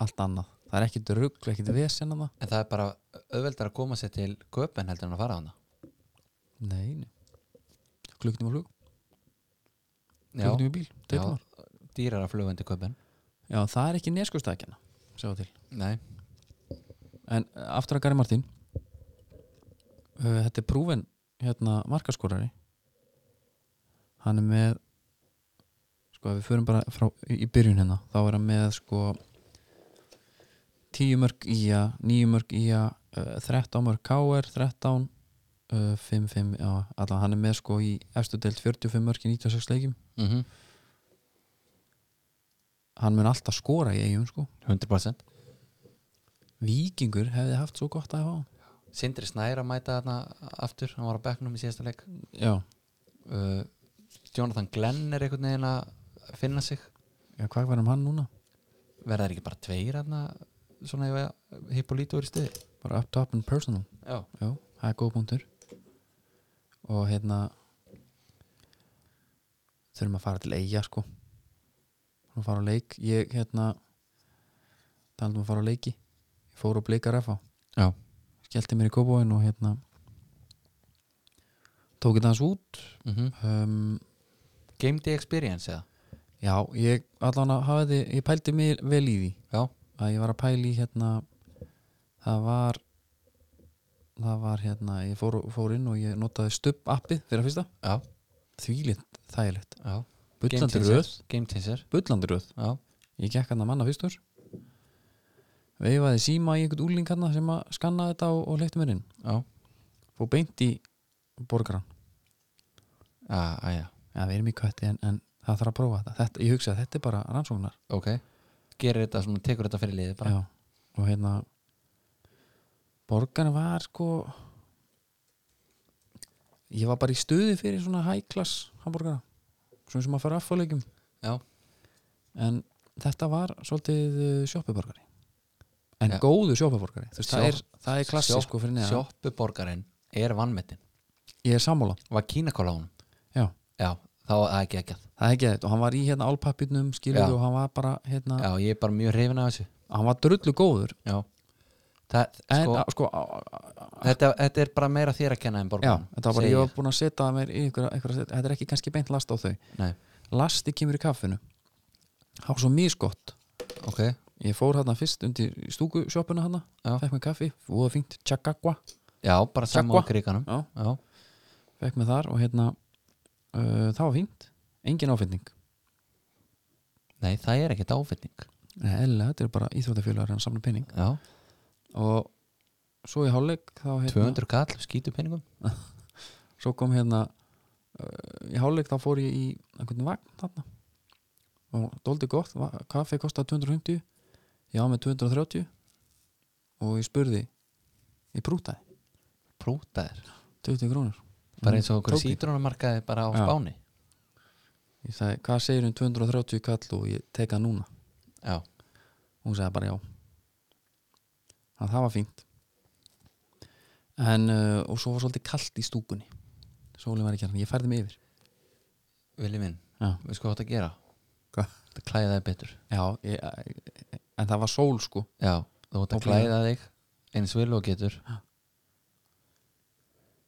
allt annað það er ekkit rugg, ekkit vesen annað
en það er bara auðveldar að koma sér til köpen heldur en að fara hana
nei, nei. klukknum á flug, klukknum í bíl
já,
já.
dýrar að fluga undir köpen
já, það er ekki neskustækjana sjá til,
nei
en eh, aftur að Gary Martin uh, þetta er prúven hérna markaskorari hann er með sko, ef við förum bara frá, í í byrjun hérna þá er hann með sko tíu mörg í að, níu mörg í að uh, 13 mörg KR, 13 uh, 5, 5, já, allan hann er með sko í efstu deild 45 mörg í 96 leikjum,
mm
hann mun alltaf skora í eigum sko,
100%
vikingur hefði haft svo gott að hafa hann.
Sindri Snær að mæta þarna aftur hann var á bekknum í síðasta leik
já,
uh, Jonathan Glenn er einhvern veginn að finna sig
já, hvað var um hann núna?
verða þeir ekki bara tveir þarna svona ef Hippolito er í stuði
bara up top and personal
já,
já, það er góð punktur og hérna þurfum að fara til eiga sko þurfum að fara á leik ég hérna talandum að fara á leiki ég fór á blikar FH
já,
skellti mér í kópóin og hérna tók þetta hans út
mm
um,
Game Day Experience eða
já, ég allan að hafa þið ég pældi mér vel í því
já,
að ég var að pæla í hérna það var það var hérna, ég fór, fór inn og ég notaði stubb appið fyrir að fyrsta
já,
þvílitt, þægilegt,
já Game
bullandi
Changer,
röð
Game Changer
bullandi röð,
já,
ég gekk hann að manna fyrstur veifaði síma í einhvern úling hann sem að skanna þetta og, og leikti mér inn
já,
fór beint í borgaran
já, já, já.
já, við erum í kvætti en, en það þarf að prófa þetta, þetta ég hugsa að þetta er bara rannsóknar
ok gerir þetta svona, tekur þetta fyrir liðið bara
Já, og hérna borgarna var sko ég var bara í stuði fyrir svona high class hamburgara svona sem að fara afhverleikjum
já,
en þetta var svolítið eh, sjoppuborgari en
Já.
góðu sjoppuborgari þú veist, það
Sjop-
er, það er klassi
Sjopp-
sko fyrir neðan
sjoppuborgarinn er vannmettin
ég er sammála,
var kínakóla á hún
já,
já, þá það er ekki ekki að
það er ekki þetta og hann var í hérna álpappirnum
Já.
skilur og hann var bara hérna,
Já, ég er bara mjög hrifin af þessu
hann var drullu góður
Já Það,
en
sko,
sko, sko á, á, á,
þetta, þetta er bara meira þér að kenna en
já,
borgarinn
þetta var bara, ég var búin að setja mér í einhverja, einhverja, þetta er ekki kannski beint last á þau
Nei,
lasti kemur í kaffinu það var svo misgott
ok,
ég fór hérna fyrst undir stúkusjópuna hérna
Já.
fekk mér kaffi, voða fínt, tjagagua
já, bara saman
Sagwa.
á kriganum
Já.
já,
fekk mér þar og hérna uh, það var fínt, engin áfinning
nei, það er ekkert áfinning
eða, þetta er bara íþróttafjölar en samla pening
Já,
og svo í hálfleik þá hérna,
200 kall, skýtu peningum
svo kom hérna uh, í hálfleik þá fór ég í einhvern vagn þarna og dóldi gott, va- kaffi kostaði 250 ég á með 230 og ég spurði ég prútaði
Prútaðir,
20 krónur
bara eins og okkur
Tók ég.
sítrónumarkaði bara á
Mm, Já.
Spáni
ég sagði, hvað segir um 230 kall og ég teka hann núna
Já,
hún sagði bara já að það var fínt en uh, og svo var svolítið kallt í stúkunni sólin var ekki hann, ég færði mig yfir
vilji minn,
já,
við sko hvað það gera
Hva?
Það klæða þig betur
já ég, en það var sól sko
Já, þú ert
Og
að
klæða.
klæða þig eins vil og getur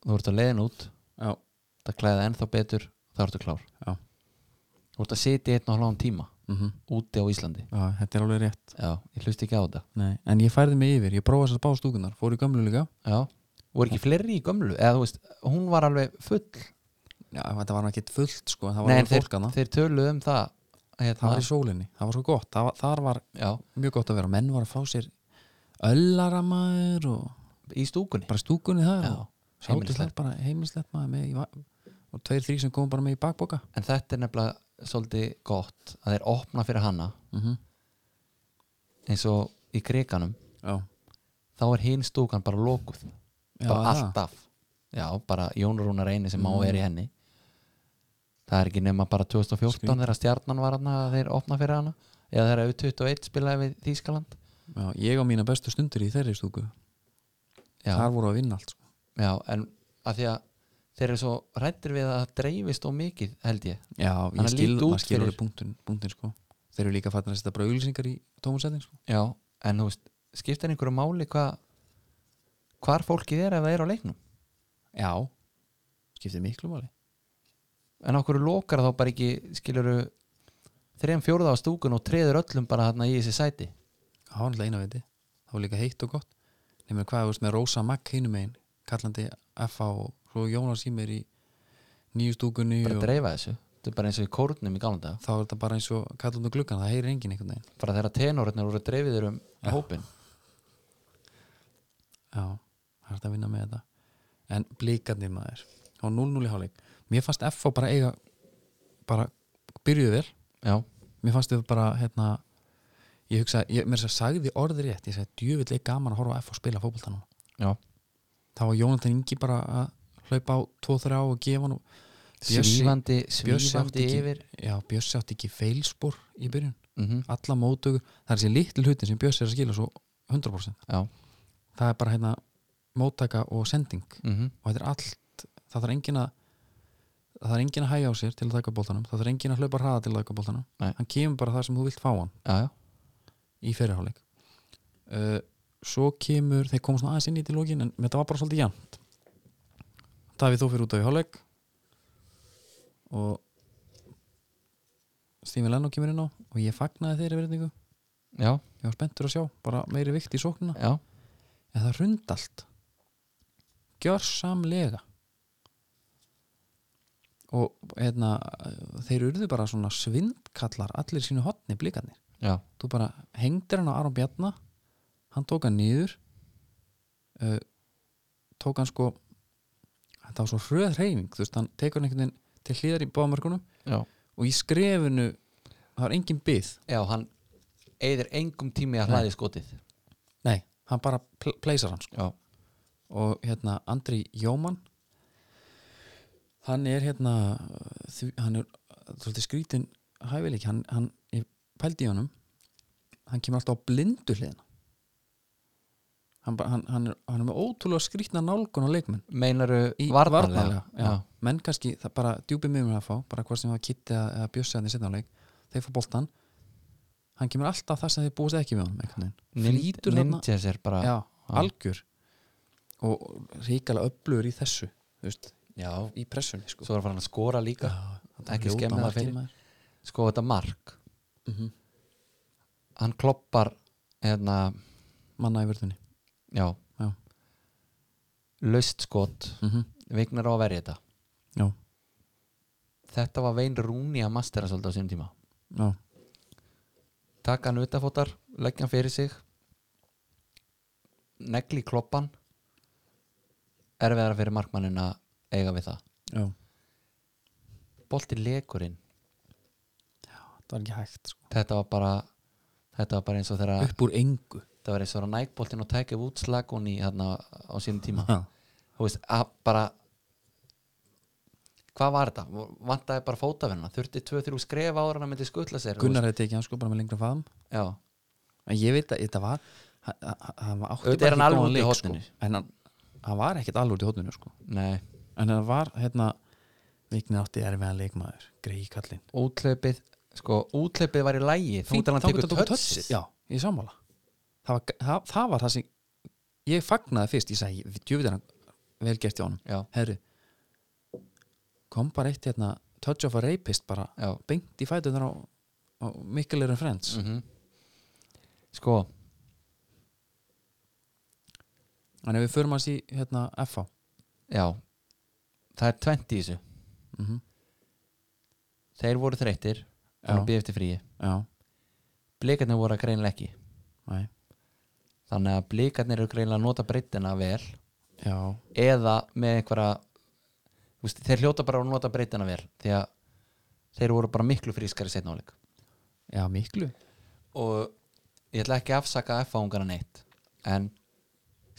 Þú ert að leiðin út
já,
Það klæða ennþá betur, þá ertu klár
já,
Þú ert að sitja í einn og hláðan tíma
Mhm.
úti á Íslandi
já, þetta er alveg rétt
já, ég hlusti ekki á þetta
Nei. en ég færði mig yfir, ég prófaði þessar bástúkunar fór í gömlu líka
já, voru ekki fleiri í gömlu eða þú veist, hún var alveg full
já, þetta var ekki fullt sko, en það var
Nei, en
alveg
þeir,
fólk hana
þeir töluðu um það
það
hérna,
var í sólinni, það var svo gott það var, þar var
já,
mjög gott að vera menn var að fá sér öllaramaður og
í stúkunni
bara stúkunni þar
Já,
og sáttu þar
heimilislegt.
bara heimilislegt maður með í va- og tveir þrý sem kom bara með í bakboka
en þetta er nefnilega svolítið gott að þeir opna fyrir hana
Mhm.
eins og í kriganum
já,
þá er hinn stúkan bara lokuð
Já, Mm.
bara
það.
alltaf já, bara Jón Rúnar eini sem má er í henni það er ekki nema bara 2014
Skrýt.
þegar stjarnan var hana að þeir opna fyrir hana eða þegar U21 spilaði við Þýskaland
já, ég á mína bestu stundir í þeirri stúku
já,
þar voru að vinna allt sko.
já, en að því að þeir eru svo rættir við að það dreifist og mikið held ég
já,
Þannig
ég
að
skil,
líta út
maður skilur
fyrir-
í punktin, punktin sko. þeir eru líka fattin að setja bara auglýsingar í tómusetting sko.
já, en þú veist, skiptir einhverju máli hvað hvar fólkið er ef það er á leiknum
já, skiptir miklu máli
en okkur lokar þá bara ekki skiluru þrejum fjóruða á stúkun og treður öllum bara þarna í þessi sæti
það var náttúrulega eina veiti, það var líka heitt og gott nefnir hvað, þú veist, með Rósa Mack hinum einn kallandi FH og svo Jónas í mér í nýju stúkunni
bara
og-
dreifa þessu, þetta er bara eins og í kórnum í gáðan dag,
þá er þetta bara eins og kallum við gluggan, það heyrir enginn einhvern veginn
bara þegar tenorinn voru dreifiður um hópin
já, það er þetta að vinna með þetta en blíkarnir maður og 0-0 í hálfleik, mér fannst FH bara eiga bara byrjuðu vel
já,
mér fannst þau bara hérna ég hugsa, ég, mér þess að sagði orðið rétt ég sagði djöfill er gaman að horfa á FH spila fótbolta núna
já,
þá var Jónatan Ingi bara að hlaupa á 2-3 og gefa hann
svífandi
Bjössi átti
svífandi
ekki,
yfir
já, Bjössi átti ekki feilspor í byrjun,
mm
alla mótökur það er sér litlu hlutin sem Bjössi er að skila svo 100%
já,
það er bara hérna móttaka og sending
mm
og þetta er allt það þarf engin að það þarf engin að hæja á sér til að taka bóltanum það þarf engin að hlaupa hraða til að taka bóltanum
Nei.
hann kemur bara þar sem þú vilt fá hann
já, já,
í fyrirháleik uh, svo kemur, þeir komum svona aðeins inn í til lókin en þetta var bara svolítið jant Davíð þó fyrir út af í háleik og Stími Lennó kemur inn á og ég fagnaði þeirri verðningu
já,
ég var spenntur að sjá, bara meiri vikt í sóknina
já,
en það rund allt gjörsamlega og hérna þeir urðu bara svona svindkallar allir í sínu hotni blikarnir
já.
þú bara hengdir hann á Aron Bjarnar hann tók hann niður uh, tók hann sko þetta var svo hröð reyning þú veist, hann tekur hann einhvern veginn til hliðar í báðamörkunum
já.
og í skrefinu það var engin byð
já hann eigðir engum tími að hlaði skotið
nei, hann bara pl pleysar hann sko.
já,
og hérna Andri Jóman hann er hérna uh, því- hann er uh, svolítið skrítin hæfileik hann, hann ég pældi í honum hann kemur alltaf á blindu hliðina hann, bara- hann, hann, er, hann er með ótrúlega skrítna nálgun á leikmenn
meinaru
í
uh, varnarlega,
já.
Já.
menn kannski, það bara djúpið mjög mér að fá bara hvort sem það kitti eða, eða bjössi hann í setnáleik þeir fá boltan hann kemur alltaf þar sem þeir búist ekki við honum einhvern veginn.
Nin-
Flýtur þarna
ninjas er bara
já, algjör og ríkala öflugur í þessu þú veist,
já.
í pressunni sko.
svo er hann að skora líka ekki
Ljóta
skemmi það
markið,
fyrir
maður.
sko þetta mark
Mhm.
hann kloppar hérna,
manna í vörðunni
já,
já.
löst skot
Mm
vignar á að verja þetta
já,
þetta var vein rúni að mastera svolítið á sínum tíma
já,
taka hann utafótar, leggja hann fyrir sig negli í kloppan erfiðara fyrir markmannin að eiga við það
já
bolti lekurinn,
það var ekki hægt sko.
þetta var bara þetta var bara eins og þegar
upp úr engu
þetta var eins og þegar nækboltin og tækja út slagun í þarna á sínum tíma
já,
þú veist, að bara hvað var þetta? vantaði bara fótafinna, þurfti 2-3 skref ára hann myndi skutla sér þú
Gunnar hefði tekið hann sko bara með lengra faðum
veist. já,
en ég veit að þetta var hann- hann- hann átti
Auðvitað
bara
er
ekki
hann alveg
góðan
úti í
leik,
horninu.
sko. en hann, hann var ekkert alveg út í hotninu sko.
nei,
en hann var hérna viknir átti erfiðan leikmaður greiði kallinn
útleipið sko, útleipið var í lægi þá hann tekur tötsis
já, ég er sammála það var, það, það var það sem ég fagnaði fyrst, ég sagði, "Ég- djöfull er hann vel gert í honum,
já,
herru kom bara eitt hérna touch of a rapist bara
já,
beint í fætunar á og Mikkel er en friends
mm sko
en ef við förum hans í hérna FH
já, það er 20 í þessu
mm
þeir voru þreyttir og
Já.
býð eftir fríi
já,
blikarnir voru að greinlega ekki
næ,
þannig að blikarnir eru greinlega að nota breytina vel
já
eða með einhverja þú veist, þeir hljóta bara að nota breytina vel því að þeir voru bara miklu frískari setna áleik
já, Miklu
og ég ætla ekki að afsaka F-áungana neitt en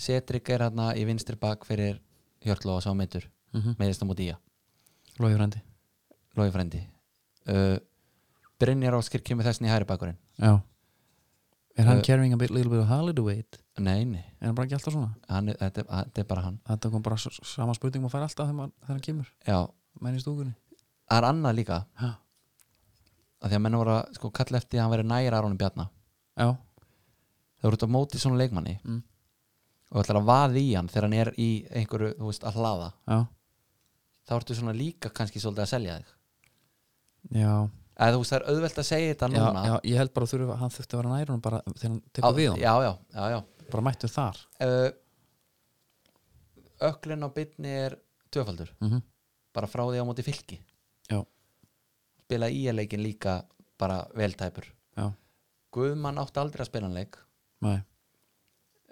Setrik er hérna í vinstri bak fyrir Hjörtló og sá meitur
mm -hmm.
meðist á móti í að
Lói Frandi
Lói frendi uh, Brynjar Áskir kemur þessin í hæri bakurinn
já er hann
Eh,
carrying a bit, little bit of holiday weight
nei, nei,
er hann bara ekki alltaf svona
hann, er- þetta, er- þetta er bara hann
þetta kom bara s- sama spurning og fær alltaf þegar, maður- þegar hann kemur
já,
menn í stúkunni
það er annað líka
ha.
að því að menn voru að sko, kalla eftir að hann veri nægir Arónu Bjarna
já,
það voru út á móti svona leikmanni
Mm.
og ætlar að vaða í hann þegar hann er í einhverju, þú veist, að hlaða
já,
þá ertu svona líka kannski svolítið að selja þig
já
eða þú veist, það er auðvelt að segja þetta
já,
núna
já, ég held bara að þurfa, hann þurfti að vera nær hann bara þegar hann tekur við hann,
já, já, já, já.
bara mættu þar
Uh, öklin á bytni er tvöfaldur,
mm
bara frá því á móti fylki
já,
spila í að leikin líka bara veltæpur
já,
Guðmann átti aldrei að spila hann leik
nei,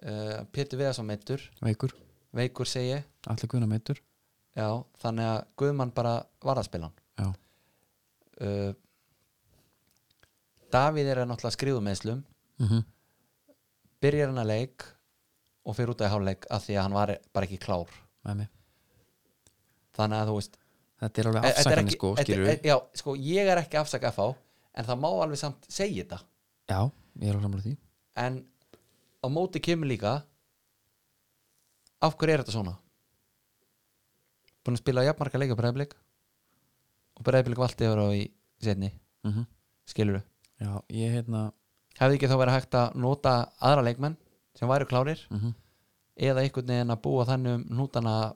uh, Pétur Viðarsson meittur,
veikur
veikur segi ég.
allir guðna meittur,
já, þannig að Guðmann bara var að spila hann
já,
uh, Davíð er að náttúrulega skriðu meðslum
mm
Mhm. byrjar hann að leik og fyrir út að hálfleik af því að hann var bara ekki klár
með mig
þannig að þú veist
þetta er alveg
e- þetta er
afsakandi
ekki-
sko,
þetta-
skilur
e- já, sko, ég er ekki að afsaka FH en það má alveg samt segja þetta
já, ég er alveg samlega því
en á móti kemur líka af hverju er þetta svona búin að spila jafnmarka leik á breyðblik og breyðblik valdi yfir á í setni
mm
skilur
já, ég hérna
hefði ekki þá verið hægt að nota aðra leikmenn sem væru klárir
mm
eða einhvern veginn að búa þannig um nútana að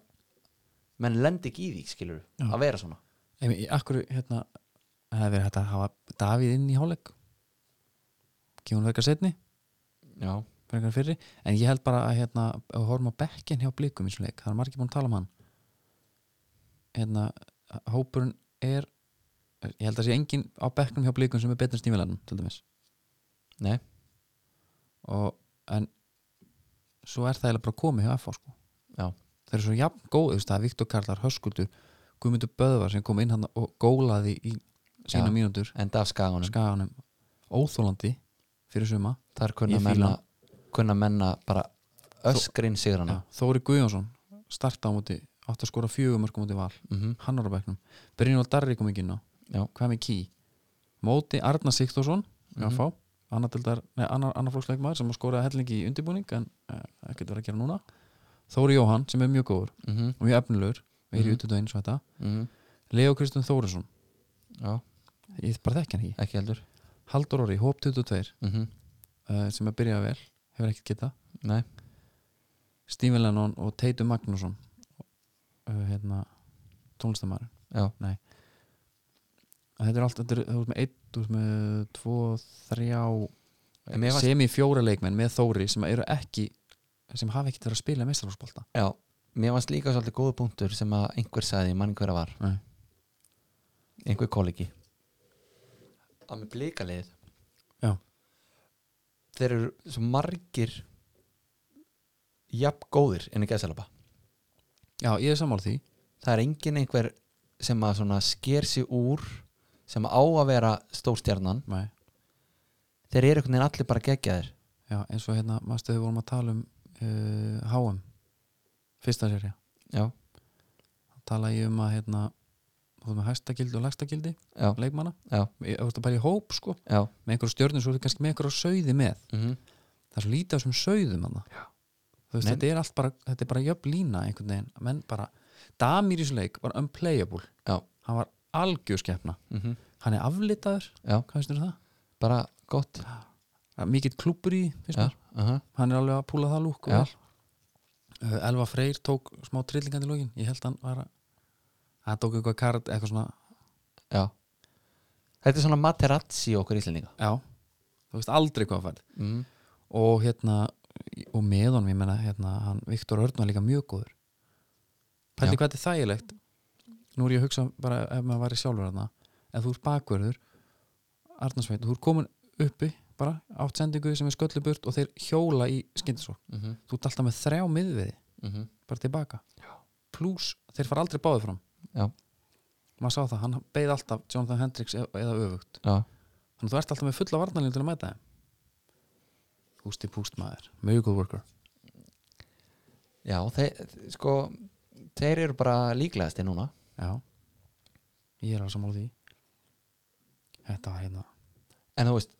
menn lendi ekki í því skilur
Já.
að vera svona
Emi, í akkur, hérna, það hefði verið hægt að hafa Davíð inn í hálfleik gefur hann verkar setni
já,
verkar fyrri, en ég held bara að hérna, ef við horfum á bekkin hjá blikum í svona leik, það er margir búin að tala um hann hérna, hópurinn er ég held að sé engin á bekknum hjá blikum sem er betur en stímilanum, til dæmis
nei,
og, en svo er það eiginlega bara komið hjá FH sko.
já,
þeir eru svo jafn góð, þú veist, það er Viktor Karlar Höskuldur, Guðmundur Böðvar sem kom inn hann og gólaði í sína
Já.
mínútur
enda af skaganum
skaganum óþólandi fyrir suma
þar kunna
Ég fíla
menna
hann.
kunna menna bara öskrin sigrana
Þóri Guðjónsson starta á móti, átt að skora fjögumörk á móti val,
mm -hmm.
hann var á bekknum Brynjóð Darri kom ekki inn á,
Já.
hvað með ký móti Arna Sigthorsson mm
Mhm.
-hmm. annar, deildar- nei, annar, annar flóksleikmaður sem skoraði hellingi í undirbúning en eh, ekkert verið að gera núna Þóri Jóhann sem er mjög góður
Mm -hmm.
og mjög efnilegur, er í
Mhm.
útut og eins og þetta Leo Kristján Þórisson,
Já,
ég bara þekki hann ekki
ekki heldur
Haldur Orri, hóp 22
mm -hmm.
uh, sem er byrjað vel, hefur ekkert geta
Nei,
Stephen Lennon og Teitu Magnússon uh, hérna tónlistamæri
já,
þetta er allt, þetta er, þú veist með einn þú veist með tvo, þrjá
En mér fannst-
semi fjóra leikmenn með Þóri sem eru ekki sem hafa ekkert verið að spila meistarhúsbolta
já Mér varst líka svolítið góðu punktur sem að einhver sagði, mann einhverja var
Nei.
einhver kollegi að með blikalið
Já.
þeir eru svo margir jafn góðir en ekki að selapa
já, ég er sammála því
það er engin einhver sem að svona sker sig úr sem á að vera stórstjarnan
Nei.
þeir eru einhvern veginn allir bara geggjaðir
já, eins og hérna, maður stöðu vorum að tala um uh, HM fyrsta serja,
já,
tala ég um að hérna, þú veist með hæstakildi og lægstakildi
já,
leikmanna,
já,
ég þú veist að bæja í hóp sko,
já
með einhverjum stjörnum svo er kannski með einhverjum sauði með
mm
það er svo lítið af þessum sauðum hann þú veist,
Menn-
þetta er allt bara, þetta er bara jöfn lína einhvern veginn, menn bara Damir í þessu leik var unplayable
Já.
hann var algjörskeppna,
-hmm.
hann er aflitaður
já,
hvað finnst þér um það?
bara gott
Það er Mikill klúpur í, því, finnst
já,
þér?
uh
Hann er alveg að púla það lúk og
Já.
vel. Uh, Elva Freyr tók smá trillingandi lógin, ég held hann var að hann tók eitthvað kard, eitthvað svona
já Þetta er svona materazzi okkur íslendinga
já, þú veist aldrei hvað færð
mm.
og hérna og með honum, ég menna, hérna, hann Viktor Örn var líka mjög góður
Já.
Pæli hvað þetta er þægilegt nú er ég að hugsa bara ef maður væri sjálfur hérna ef þú ert bakverður Arnarsveit, þú ert komin uppi bara átt sendingu sem er sköllu burt og þeir hjóla í skyndisók
Mm -hmm.
þú ert alltaf með þrjá miðviði
mhm.
bara tilbaka pluss þeir fara aldrei báði fram
Já.
maður sá það, hann beið alltaf Jonathan Hendricks eða, eða öfugt
Já,
þannig að þú ert alltaf með fulla varnarlínu til að mæta þeim Gústi Púst maður, miracle worker
já þeir, sko þeir eru bara líklegasti núna
já, ég er á sammála því þetta var hérna
en þú veist,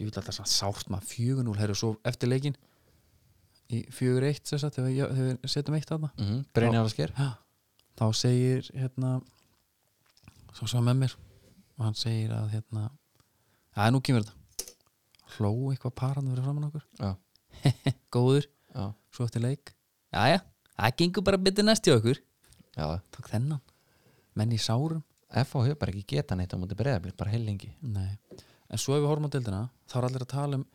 ég vil alltaf sátt maður 4-0 herri svo eftir leikin í 4-1 sem sagt, þegar við- þegar við setjum eitt aðna
mm -hmm. Brynjar og Sker
Mhm. Já, þá segir hérna svo svo með mér og hann segir að hérna að nú kemur þetta hló eitthvað paran verið framann okkur
Já,
góður,
já,
svo eftir leik jæja, það gengur bara betur næst í okkur
já
tók þennan, menn í sárum
FH hefur bara ekki geta neitt á móti breyðablik, bara heilingi
Nei. en svo ef við horfum á deildina þá er allir að tala um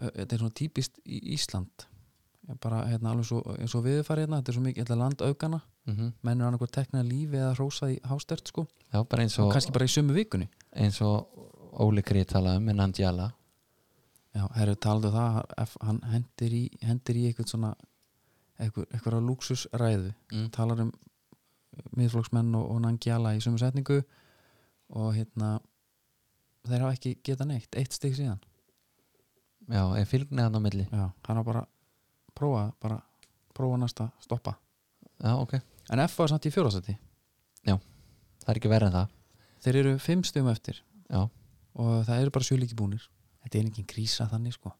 uh, þetta er svona típist í Ísland Ég bara hérna alveg svo, eins og viðfæri hérna þetta er svo mikið, þetta er landaugana
mm
menn er annarkoð teknað lífi eða hrósað í hástert sko,
Já, bara eins
og
og,
kannski bara í sömu vikunni
eins og Óli Krið talaði um með Nandjala
Já, herru, talaðu það ef hann hendir í, hendir í eitthvað svona eitthvað, eitthvað lúksusræðu
mm.
talar um miðflóksmenn og, og nangjala í sömu setningu og hérna þeir hafa ekki getað neitt, eitt stig síðan
Já, er fylgni hann á milli
Já, hann hafa bara prófað bara prófað næsta stoppa
Já, ok,
en F var samt í fjórastætti
það er ekki verið en það
þeir eru fimm stigum eftir
Já,
og það eru bara sjöleiki búnir þetta er engin krísa þannig sko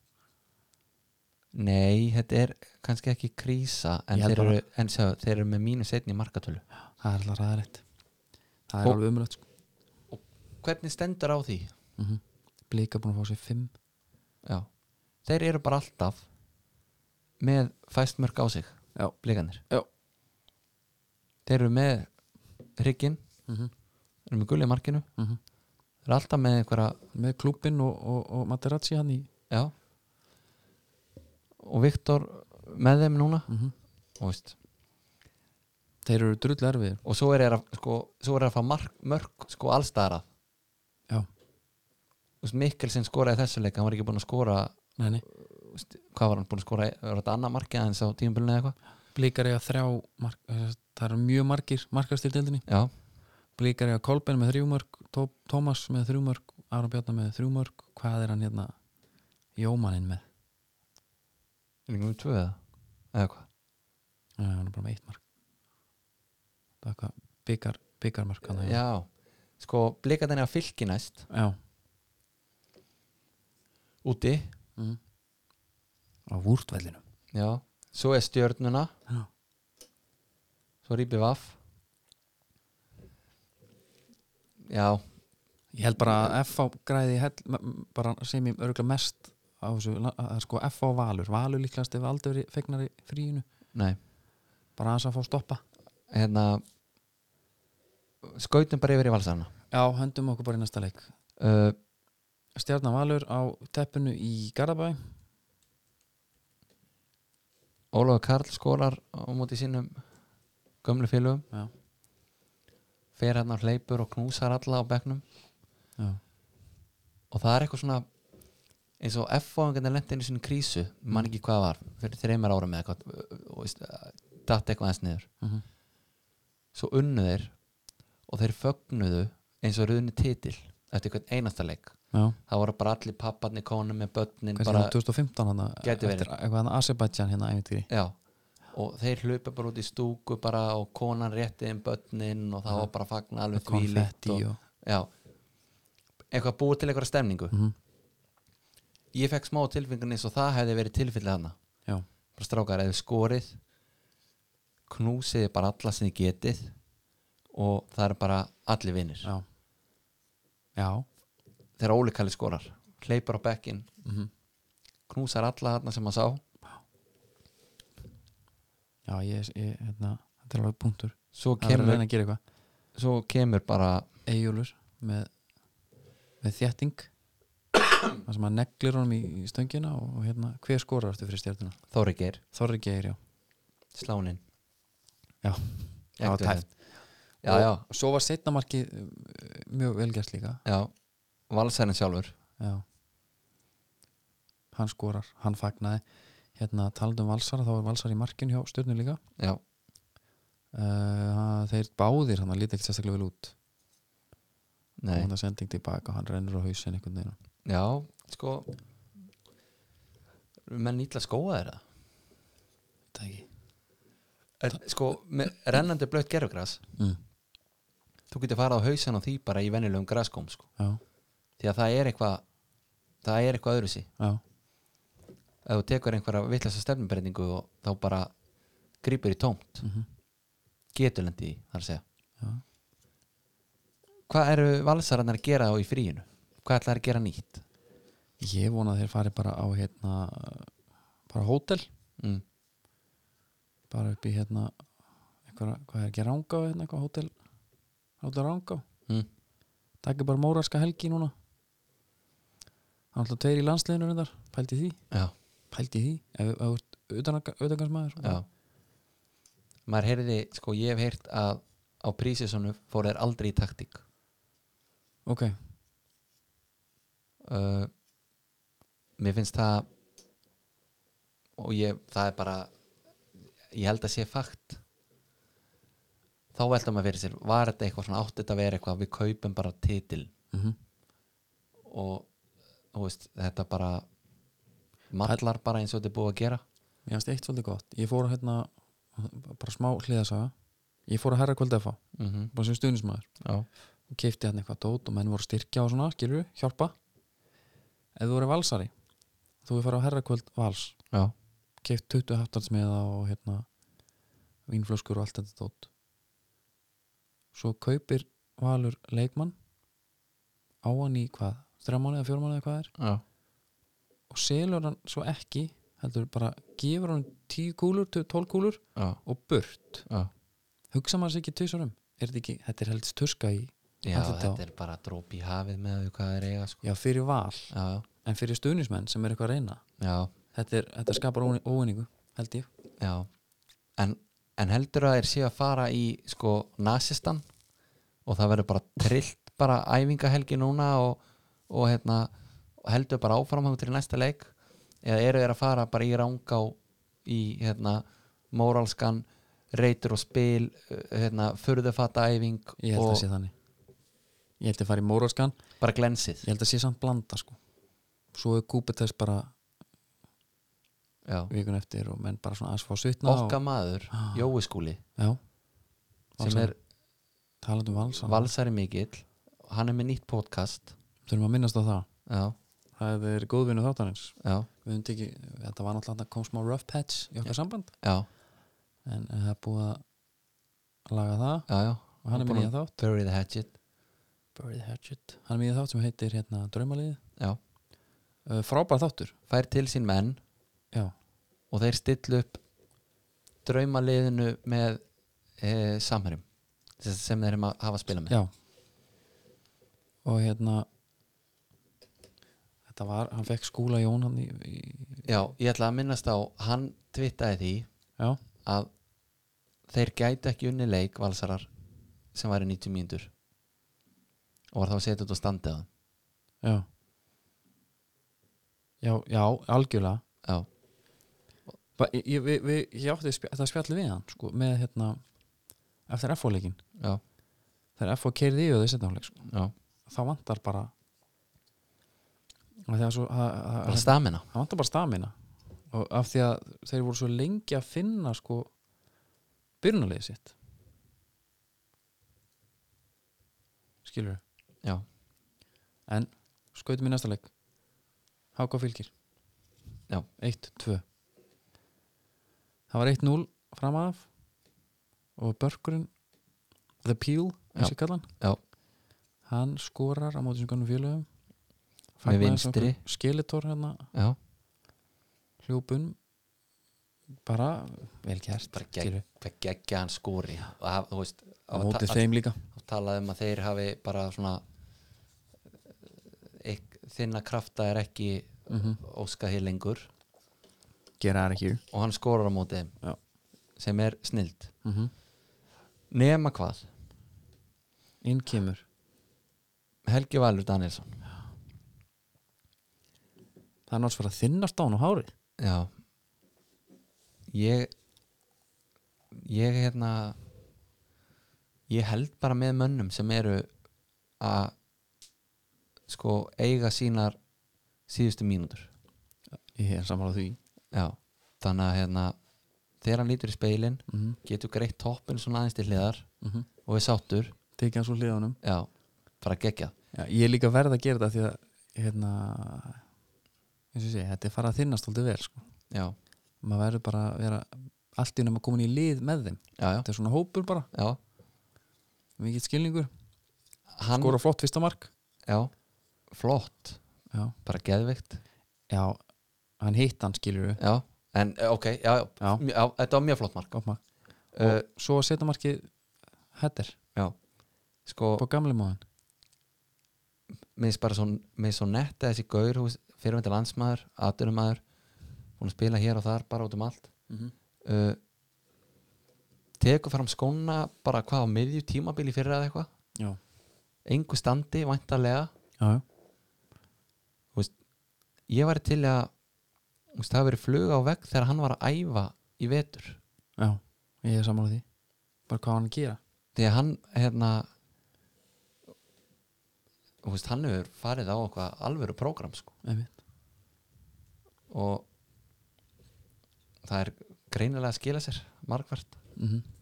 nei, þetta er kannski ekki krísa en,
Ég held
þeir
bara-
eru, en sjá, þeir eru með mínus einn í markatölu
það er alltaf ræðarætt það er
Og-
alveg umrætt sko
Hvernig stendur á því?
mm -hmm. blika búin að fá sér fimm
Já, þeir eru bara alltaf með fæst mörg á sig
Já.
blikanir
Já.
Þeir eru með hrygginn,
mm -hmm.
eru með gulli markinu
mhm.
þeir eru alltaf með einhverja
með klúbin og, og, og Materazzi hann í
Já og Viktor með þeim núna
Mhm.
og, veist,
þeir eru drull erfiðir
og svo er þeir að sko, svo er þeir að fá mark, mörg sko allstæðara
já,
Mikkelsen skoraði í þessu leik hann var ekki búin að skora
nei, nei.
veist, hvað var hann búin að skora, var þetta annað markið aðeins á tímabilinu eða eitthvað
blikar eiga þrjá mark, eh, það eru mjög margir markastildildinni
Já,
blikar eiga Kolben með þrjúmörk Tó, Tómas með þrjúmörk, Aron Bjarnar með þrjúmörk hvað er hann hérna Jómaninn með,
er ekki um tvö eða eða hvað,
Nei, hann er bara með eitt mark það er eitthvað bikar, bikarmark hann
já sko, blikað henni að fylki næst
já.
úti,
Mm. á vúrtvellinu
já, svo er stjörnuna
Já.
svo rýpi vaff Já,
ég held bara að FH græði hell, m- m- bara sem ég örgulega mest á þessu, la- að að sko FH Valur Valur líklegast ef aldrei verið fegnar í fríinu
nei
bara aðeins að fá stoppa
hérna skautum bara yfir í valsarna
já, höndum okkur bara í næsta leik
uh,
Stjarnan Valur á teppinu í Garðabæ
Ólafur Karl skólar á móti sínum gömlu félögum
já,
fer hérna hleypur og knúsar alla á bekknum
já,
og það er eitthvað svona eins og F-fóðingarnir lendi einu sinni krísu mann ekki hvað var, fyrir þreymar ára með eitthvað uh, og veist, uh, datt eitthvað eins niður
mm
svo unnu þeir og þeir fögnuðu eins og ruðni titil eftir eitthvað einasta leik
já.
það voru bara allir papparnir, konum með börnin
kannski
bara,
bara 2015 hana,
Gæti verið.
eftir eitthvað hann Azerbaijan hérna ævintýri
Já, og þeir hlupa bara út í stúku bara og konan rétti um börnin og það var bara að fagna alveg þvílíkt
konfetti og,
og, Já, eitthvað búið til eitthvað stemningu
Mhm.
Ég fekk smá tilfingun eins og það hefði verið tilfellið hana
já,
bara strákar eða skorið knúsiði bara alla sem þið getið og það er bara allir vinnir
já já,
þegar Óli Kalli skorar hleypur á bekkin
mhm.
knúsar alla þarna sem hann sá
já, ég, ég hérna, þetta er alveg punktur
svo
það er að
kemur,
reyna að gera eitthvað
svo kemur bara
Eyjólfur með með þétting *coughs* þar sem að neglir honum í, í stöngina og, og hérna, hver skorar þetta fyrir stjörnuna?
Þóri Geir,
Þorri Geir, já
Slánin
Já.
já,
var tæpt.
já,
og
já,
svo var setna markið um, mjög velgjast líka
já Valsærin sjálfur
já. hann skorar, hann fagnaði hérna talandi um Valsara, þá var Valsar í markinu hjá stjörnu líka
já,
uh, þeir báðir, hann lítið ekki sérstaklega vel út
nei,
og hann sending tilbaka og hann rennur á hausin einhvern veginn
já, sko eru menn ítla skóa þeirra
það ekki
er, sko, með rennandi blött gerfgras
mm.
þú getur farið á hausin á því bara í venjulegum graskóm sko.
já,
því að það er eitthvað það er eitthvað öðru sí
já,
ef þú tekur einhverja vitlasa stefnumbreytingu og þá bara grípur í tómt mm -hmm. getur lendi í, þar að segja
Mhm, já
hvað eru valsararnar að gera þá í fríinu hvað ætlaði að gera nýtt
ég vona að þeir fari bara á hérna bara hótel
mm.
bara upp í hérna einhverja, hvað er ekki ránga hérna, eitthvað hótel hótel ránga
Mm.
takk er bara móraska helgi núna það er alltaf tveir í landsliðinu reyndar pældi því,
já,
pældi því ef ef þú ert utanaka- utangangsmaður
já maður heyrði, sko ég hef heyrt að á prísisonu fór þeir aldrei í taktík
ok,
uh, mér finnst það og ég, það er bara ég held að sé fakt þá velta maður fyrir sér var þetta eitthvað svona, átti þetta að vera eitthvað við kaupum bara titil
mm
og þú veist, þetta bara mallar bara eins og þetta er búið að gera
ég hans eitt svolítið gott ég fór að hérna, bara smá hliðasaga ég fór að herra kvöldið að fá
mm -hmm.
bara sem stuðnismæður
já,
og keipti hann eitthvað dót og menn voru að styrkja og svona, skilur við, hjálpa ef þú voru valsari þú er fara á herrakvöld vals
já,
keipt 20 haftansmiða og hérna vínflöskur og allt þetta dót svo kaupir valur leikmann á hann í hvað þrjámánu eða fjórmánu eða hvað er
já,
og selur hann svo ekki heldur bara gefur hann 10 kúlur, 12 kúlur
já,
og burt
já.
hugsa maður sér ekki tvisarum er þetta ekki, þetta er heldur turska í
já
Andlit á-
þetta er bara dróp í hafið með því hvað þeir eiga sko.
já, fyrir val
já, já,
en fyrir stuðnismenn sem er eitthvað að reyna
já,
þetta, er, þetta skapar óinningu, held ég
já. En, en heldur að þeir séu að fara í sko nasistan og það verður bara trillt bara æfingahelgi núna og, og hérna og heldur bara áfram þangað til næsta leik eða eru þeir að fara bara í ránga í hérna móralskan reytur og spil uh, hérna furðufata æfing
ég held að
og
sé þannig ég held að fara í móralskan
bara glensið
ég held að sé samt blanda sko svo er kúpið þess bara
já.
vikun eftir og menn bara svona aðeins fá svitna
okkar maður,
Ah.
Jói skúli
og, já,
sem er
talandi um valsa Val
valsari mikill hann er með nýtt podcast
þurfum að minnast á það
já,
það er góðvinnu þáttanins
já,
við höfum tekið, þetta var náttúrulega þarna kom smá rough patch í okkar samband
já,
en en það er búið að laga það
já, já
og hann er með
búinn
nýja
að
þátt
bury the hatchet
Bury the Hatchet hann er með nýja þátt sem heitir hérna Draumalið
já.
uh, frábær þáttur
fær til sín menn
já,
og þeir stillu upp draumaliðinu með e, samherjum sem sem þeir eru að hafa að spila með
Já Og hérna Þetta var, hann fekk skúla Jón hann í, í
já, ég ætla að minnast á hann twittaði því
Já,
að þeir gæti ekki unni leik valsarar sem væri 90 mínútur og var þá að setja þetta á standið á þeim.
já Já, já, algjörlega
já,
Ba- ég, ég, við, við, ég átti spj þetta spjalli við hann sko, með hérna eftir FO-leikin,
já,
þegar FO keirði yfir þau setna hálfleik, sko,
já
þá vantar bara og þegar svo það- það-
bara stamina
það vantar bara stamina og af því að þeir voru svo lengi að finna sko byrjunarliðið sitt skilur
já,
en skautum í næsta leik Háka fylgir
Já.
1-2 það var 1-0 fram af og börkurinn The Peel, eins og kallan
já,
hann skorar á móti sem kannum félögum
Með
Fagnaði
vinstri.
þessu okkur Skeletor hérna
já
hljópun bara vel gert
bara
skilur.
gegg, bara geggja hann skóri og haf, þú veist
á
að
móti
ta-
þeim líka
að- að talað um að þeir hafi bara svona þinna krafta er ekki mm
Mhm.
óskað hér lengur
Get out of here
og hann skorar á móti þeim
Já.
sem er snild
mm
nema hvað,
Inn kemur
Helgi Valur Danielsson
Það er náttúrulega að þinnast á hann á hári
já ég ég hérna ég held bara með mönnum sem eru að sko eiga sínar síðustu mínútur
Ég er sammála því
já, þannig að hérna þegar hann lítur í speilin
mm -hmm.
getur greitt toppin svona aðeins til hliðar og er sáttur,
mhm. Tekið hann svo hlið á honum
já, bara geggjað
Já, Ég er líka verð að gera þetta því að hérna eins og ég segi, þetta er farið að þinnast alltaf vel sko.
já,
maður verður bara að vera allt í nefn að koma inn í lið með þeim
já, já,
þetta er svona hópur bara,
já
mikið skilningur
hann,
skora flott fyrsta mark
já, flott
já,
bara geðveikt
já hann hitt hann skilur við
já, en eh, ok, já, já,
Já.
já. þetta var mjög flott mark
Gott mark.
uh,
og svo setja markið hættir
já, sko
á gamle móðan
mér finnst bara svo, mér finnst svo netta þessi gaur hús, fyrirvendir landsmaður, aturumæður hún spila hér og þar bara út um allt
Mhm.
uh, tekur fram skóna bara hvað á miðju tímabili fyrir eða eitthvað
já,
engu standi, væntalega
já, já,
ég var til að þú veist, það hafi verið flug á vegg þegar hann var að æfa í vetur
já ég er sammála því, bara hvað á hann að gera
því að hann hérna þú veist, hann hefur farið á eitthvað alvöru prógram sko
einmitt,
og það er greinilega að skila sér margvart
mhm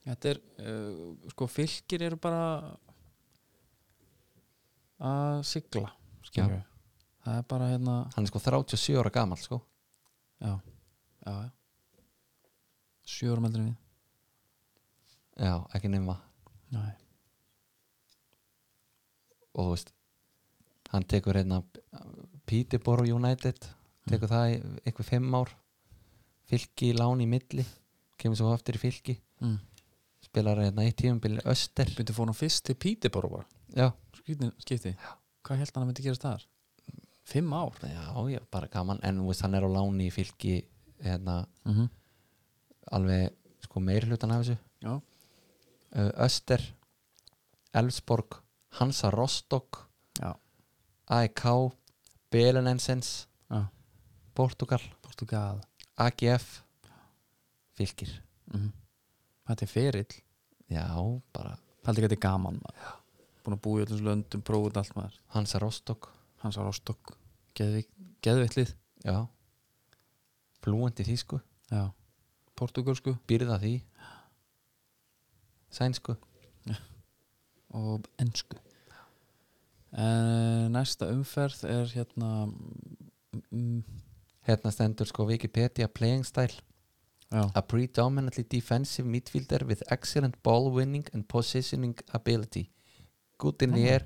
Þetta er, uh, sko, fylgir eru bara að sigla, skilur við. Það er bara, hérna,
hann er sko 37 ára gamall sko
Já, já, já Sjö árum eldri en við
já, ekki nema
Nei.
og þú veist hann tekur hérna Peterborough United tekur það í einhver fimm ár fylki í lán í milli kemur svo aftur í fylki
Mm.
spilar hérna eitt tíumbil öster
Byrju fór hann fyrst til Pítibor bara
já,
Skipti, skipti. Hvað held hann að myndi gerast þar? Fimm ár
já, já, bara gaman en þú veist, hann er á lán í fylki hérna
mm -hmm.
alveg sko meiri hlutan af þessu
Já,
Ö, Eh, Öster Elfsborg, Hansa Rostock
já,
AEK Belenensens,
já.
Portugal
Portugal
AGF Fylkir
mm Þetta er ferill
já, bara
Haldi ekki að þetta er gaman maður Búin að búa í öllum löndum, prófið allt maður
Hansa Rostock
Hans á Rostock, geðveitlið
já flúandi þýsku,
Já, portugalsku
byrða því sænsku
og ennsku en eh, næsta umferð er hérna mm,
hérna stendur sko Wikipedia playing style
já,
a predominantly defensive midfielder with excellent ball winning and positioning ability good in the
Ah.
air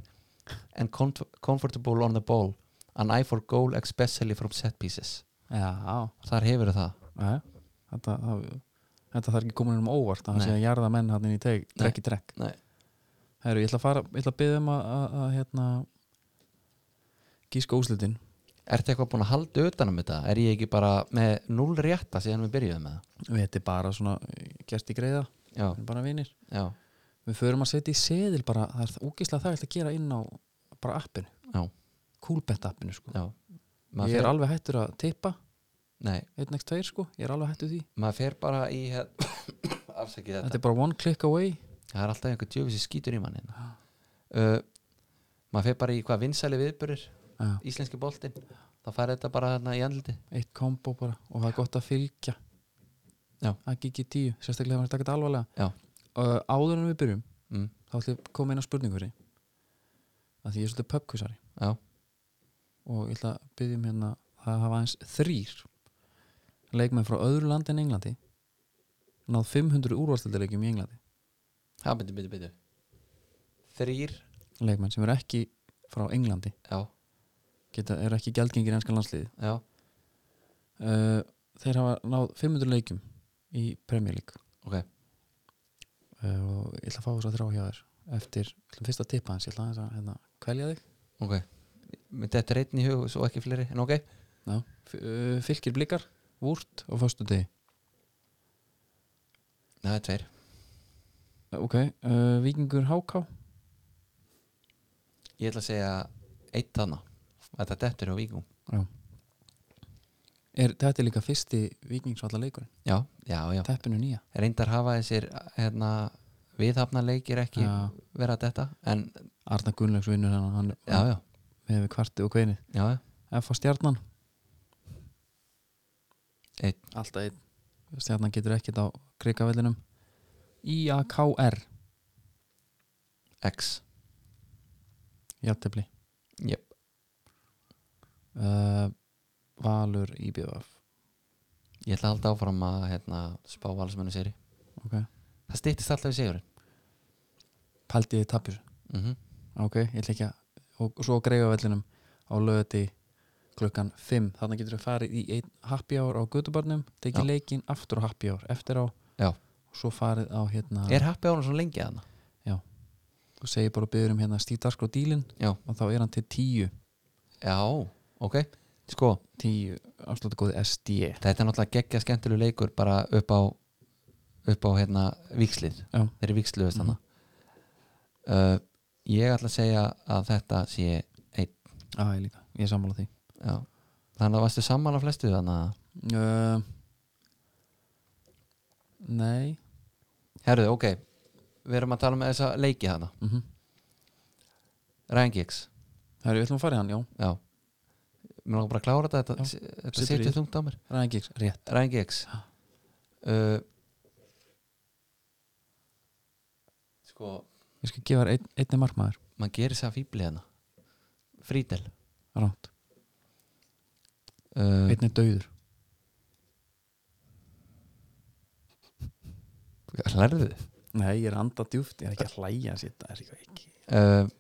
and comf- comfortable on the ball an eye for goal especially from set pieces
já
þar hefur það
Nei, þetta, það, þetta þarf ekki komin um óvart að það
Nei.
sé að jarða menn hann inn í teg,
Nei.
trekk í trekk
Nei.
Heru, ég ætla að fara, ég ætla að byggja um að, að, að hérna gíska úslitin
ertu eitthvað búin að halda utanum þetta er ég ekki bara með null rétta síðan við byrjuðum með
við þetta er bara svona gerst í greiða,
það
við
já,
erum bara vinir
já,
við förum að setja í seðil bara, það er úkislega þægilt að gera inn á bara appinu,
já,
coolbet appinu sko.
já
ég
maður
er
fer,
alveg hættur að tippa
nei,
1x2 sko, ég er alveg hættur því
maður fer bara í hér- *coughs* afsakið þetta
þetta er bara one click away
það er alltaf einhver djöfis sem skýtur í manni
Ah.
uh, maður fer bara í hvað vinsæli viðbörur
Já.
íslenski boltinn þá fær þetta bara þarna í andliti
eitt kombo bara og það er gott að fylgja
Já.
að gigi tíu, sérstaklega ef maður stakka þetta alvarlega
já,
uh, áður en við byrjum
mm,
þá ætlum við að koma inn á spurningur að því ég er svolítið pubkvísari
já,
og ég ætla að byggjum hérna að hafa aðeins þrýr leikmenn frá öðru landi en Englandi náð 500 úrvarstildarleikjum í Englandi
það byrju, byrju, byrju þrýr,
leikmenn sem eru ekki frá Englandi
já,
geta, eru ekki gjaldgengir ennskan landsliði
já
uh, þeir hafa náð 500 leikjum í Premier League
ok,
uh, og ég ætla að fá þess að þrá hjá þér eftir, ég ætla fyrst að tippa hans ég ætla aðeins að hérna, Kælja þig
ok þetta er einn í hug, svo ekki fleiri, en ok
Já. F- uh, Fylkir blikar, vúrt á föstu degi
það er tveir,
Ok, uh, Víkingur Háká
ég ætla að segja eitt þarna, þetta dettur á víkum
Já Er, þetta er líka fyrsti vikingsvalla leikurinn
já, já, já,
Teppinu nýja
reyndar hafa þessir hérna, viðhafna leikir ekki
Já.
vera þetta, en
Arna Gunnlaugs vinnur hann, hann
já, já,
Við hefum kvartið og kveini
já, já.
F á stjarnan
Einn.
Alltaf einn Stjarnan getur ekkert á krikavellinum IAKR
x,
Jattefli
jöp
uh, Valur IBF
Ég ætla að halda áfram að hérna, spá valsmennu séri
Ok
Það stýttist alltaf í sigurinn
Pældi þið tapjur
mm
Ok, ég ætla ekki að Og svo á greifavellinum á lögati klukkan 5 Þannig getur við farið í einn happy hour á Götubarnum Tekið
Já.
leikinn aftur á happy hour Eftir á
Já.
Og svo farið á hérna
Er happy ánum svo lengi að hana?
Og segir bara og byður um hérna stíðdarskrá dílin
Já.
Og þá er hann til 10
Já, ok Sko,
10 afsláttu góði SD
þetta er náttúrulega geggja skemmtileg leikur bara upp á upp á hérna vikslið
Já. Mhm.
Þeir eru viksluðust hana uh, Ég ætla að segja að þetta sé einn
Já, ég líka, ég er sammála því
Já. Þannig að varstu sammála flestu þannig að
uh, Nei
Herðu, ok Við erum að tala með þessa leiki hana
mm -hmm.
Ryan Giggs,
Herru, við ætlum að fara í hann, já
já Mér langar bara að klára þetta,
Já.
þetta, þetta
Situr í
situr
þér.
þungt á mér
Ryan Giggs, rétt
Ryan Giggs uh, Sko
Ég skal gefa þér ein, einni markmaður
Man gerir sér að fýbli hérna Frítel
Ránt,
uh,
einni dauður
Lærðu
Nei, ég er að anda djúft, ég er ekki að hlæja sér Það er eitthvað ekki
uh,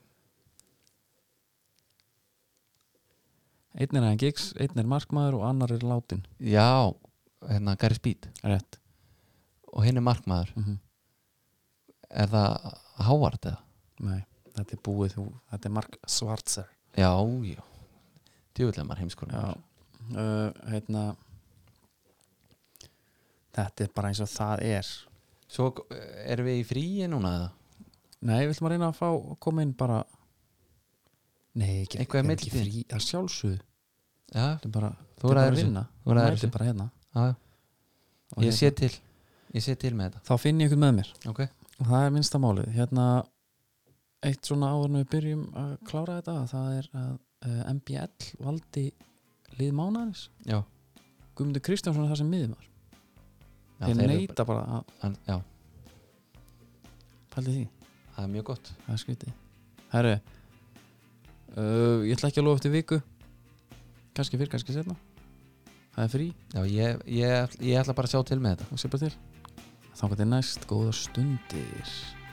Einn er Ryan Giggs, einn er markmaður og annar er látin
Já, hérna Gary Speed
Rétt
Og hinn er markmaður
mm
Er það Hávard eða?
Nei, þetta er búið þú, þetta er Mark Schwarzer
Já, já Djúvilega maður heimskur
Já, uh, hérna Þetta er bara eins og það er
Svo eh, erum við í fríi núna eða?
Nei, við ætlum að reyna að fá koma inn bara Nei, ekki,
Eitthvað í
er ekki
millitíðinni?
frí að sjálfsögðu
Já,
Þetta er bara,
Þú
þetta er
ræður
bara að
þessu.
vinna
Þú ræður
mætir
þessu.
bara hérna
já,
Og
ég
hérna-
sé til Ég sé til með
Þá finn ég eitthvað með mér
þetta okay.
og það er minnsta málið Hérna, eitt svona áður en við byrjum að klára þetta það er að uh, MBL valdi lið mánaðins
Já,
Guðmundur Kristjánsson er það sem miðumar
já
Þeir
þeir eru-
neita bara að
hann, Já,
pældi því
það er mjög gott
Það er skrítið Herru uh, Ég ætla ekki að lofa eftir viku kannski fyrr, kannski setna Það er frí
Já, ég, ég, ég ætla bara að sjá til með þetta
og sé bara til þangað til næst, góða stundir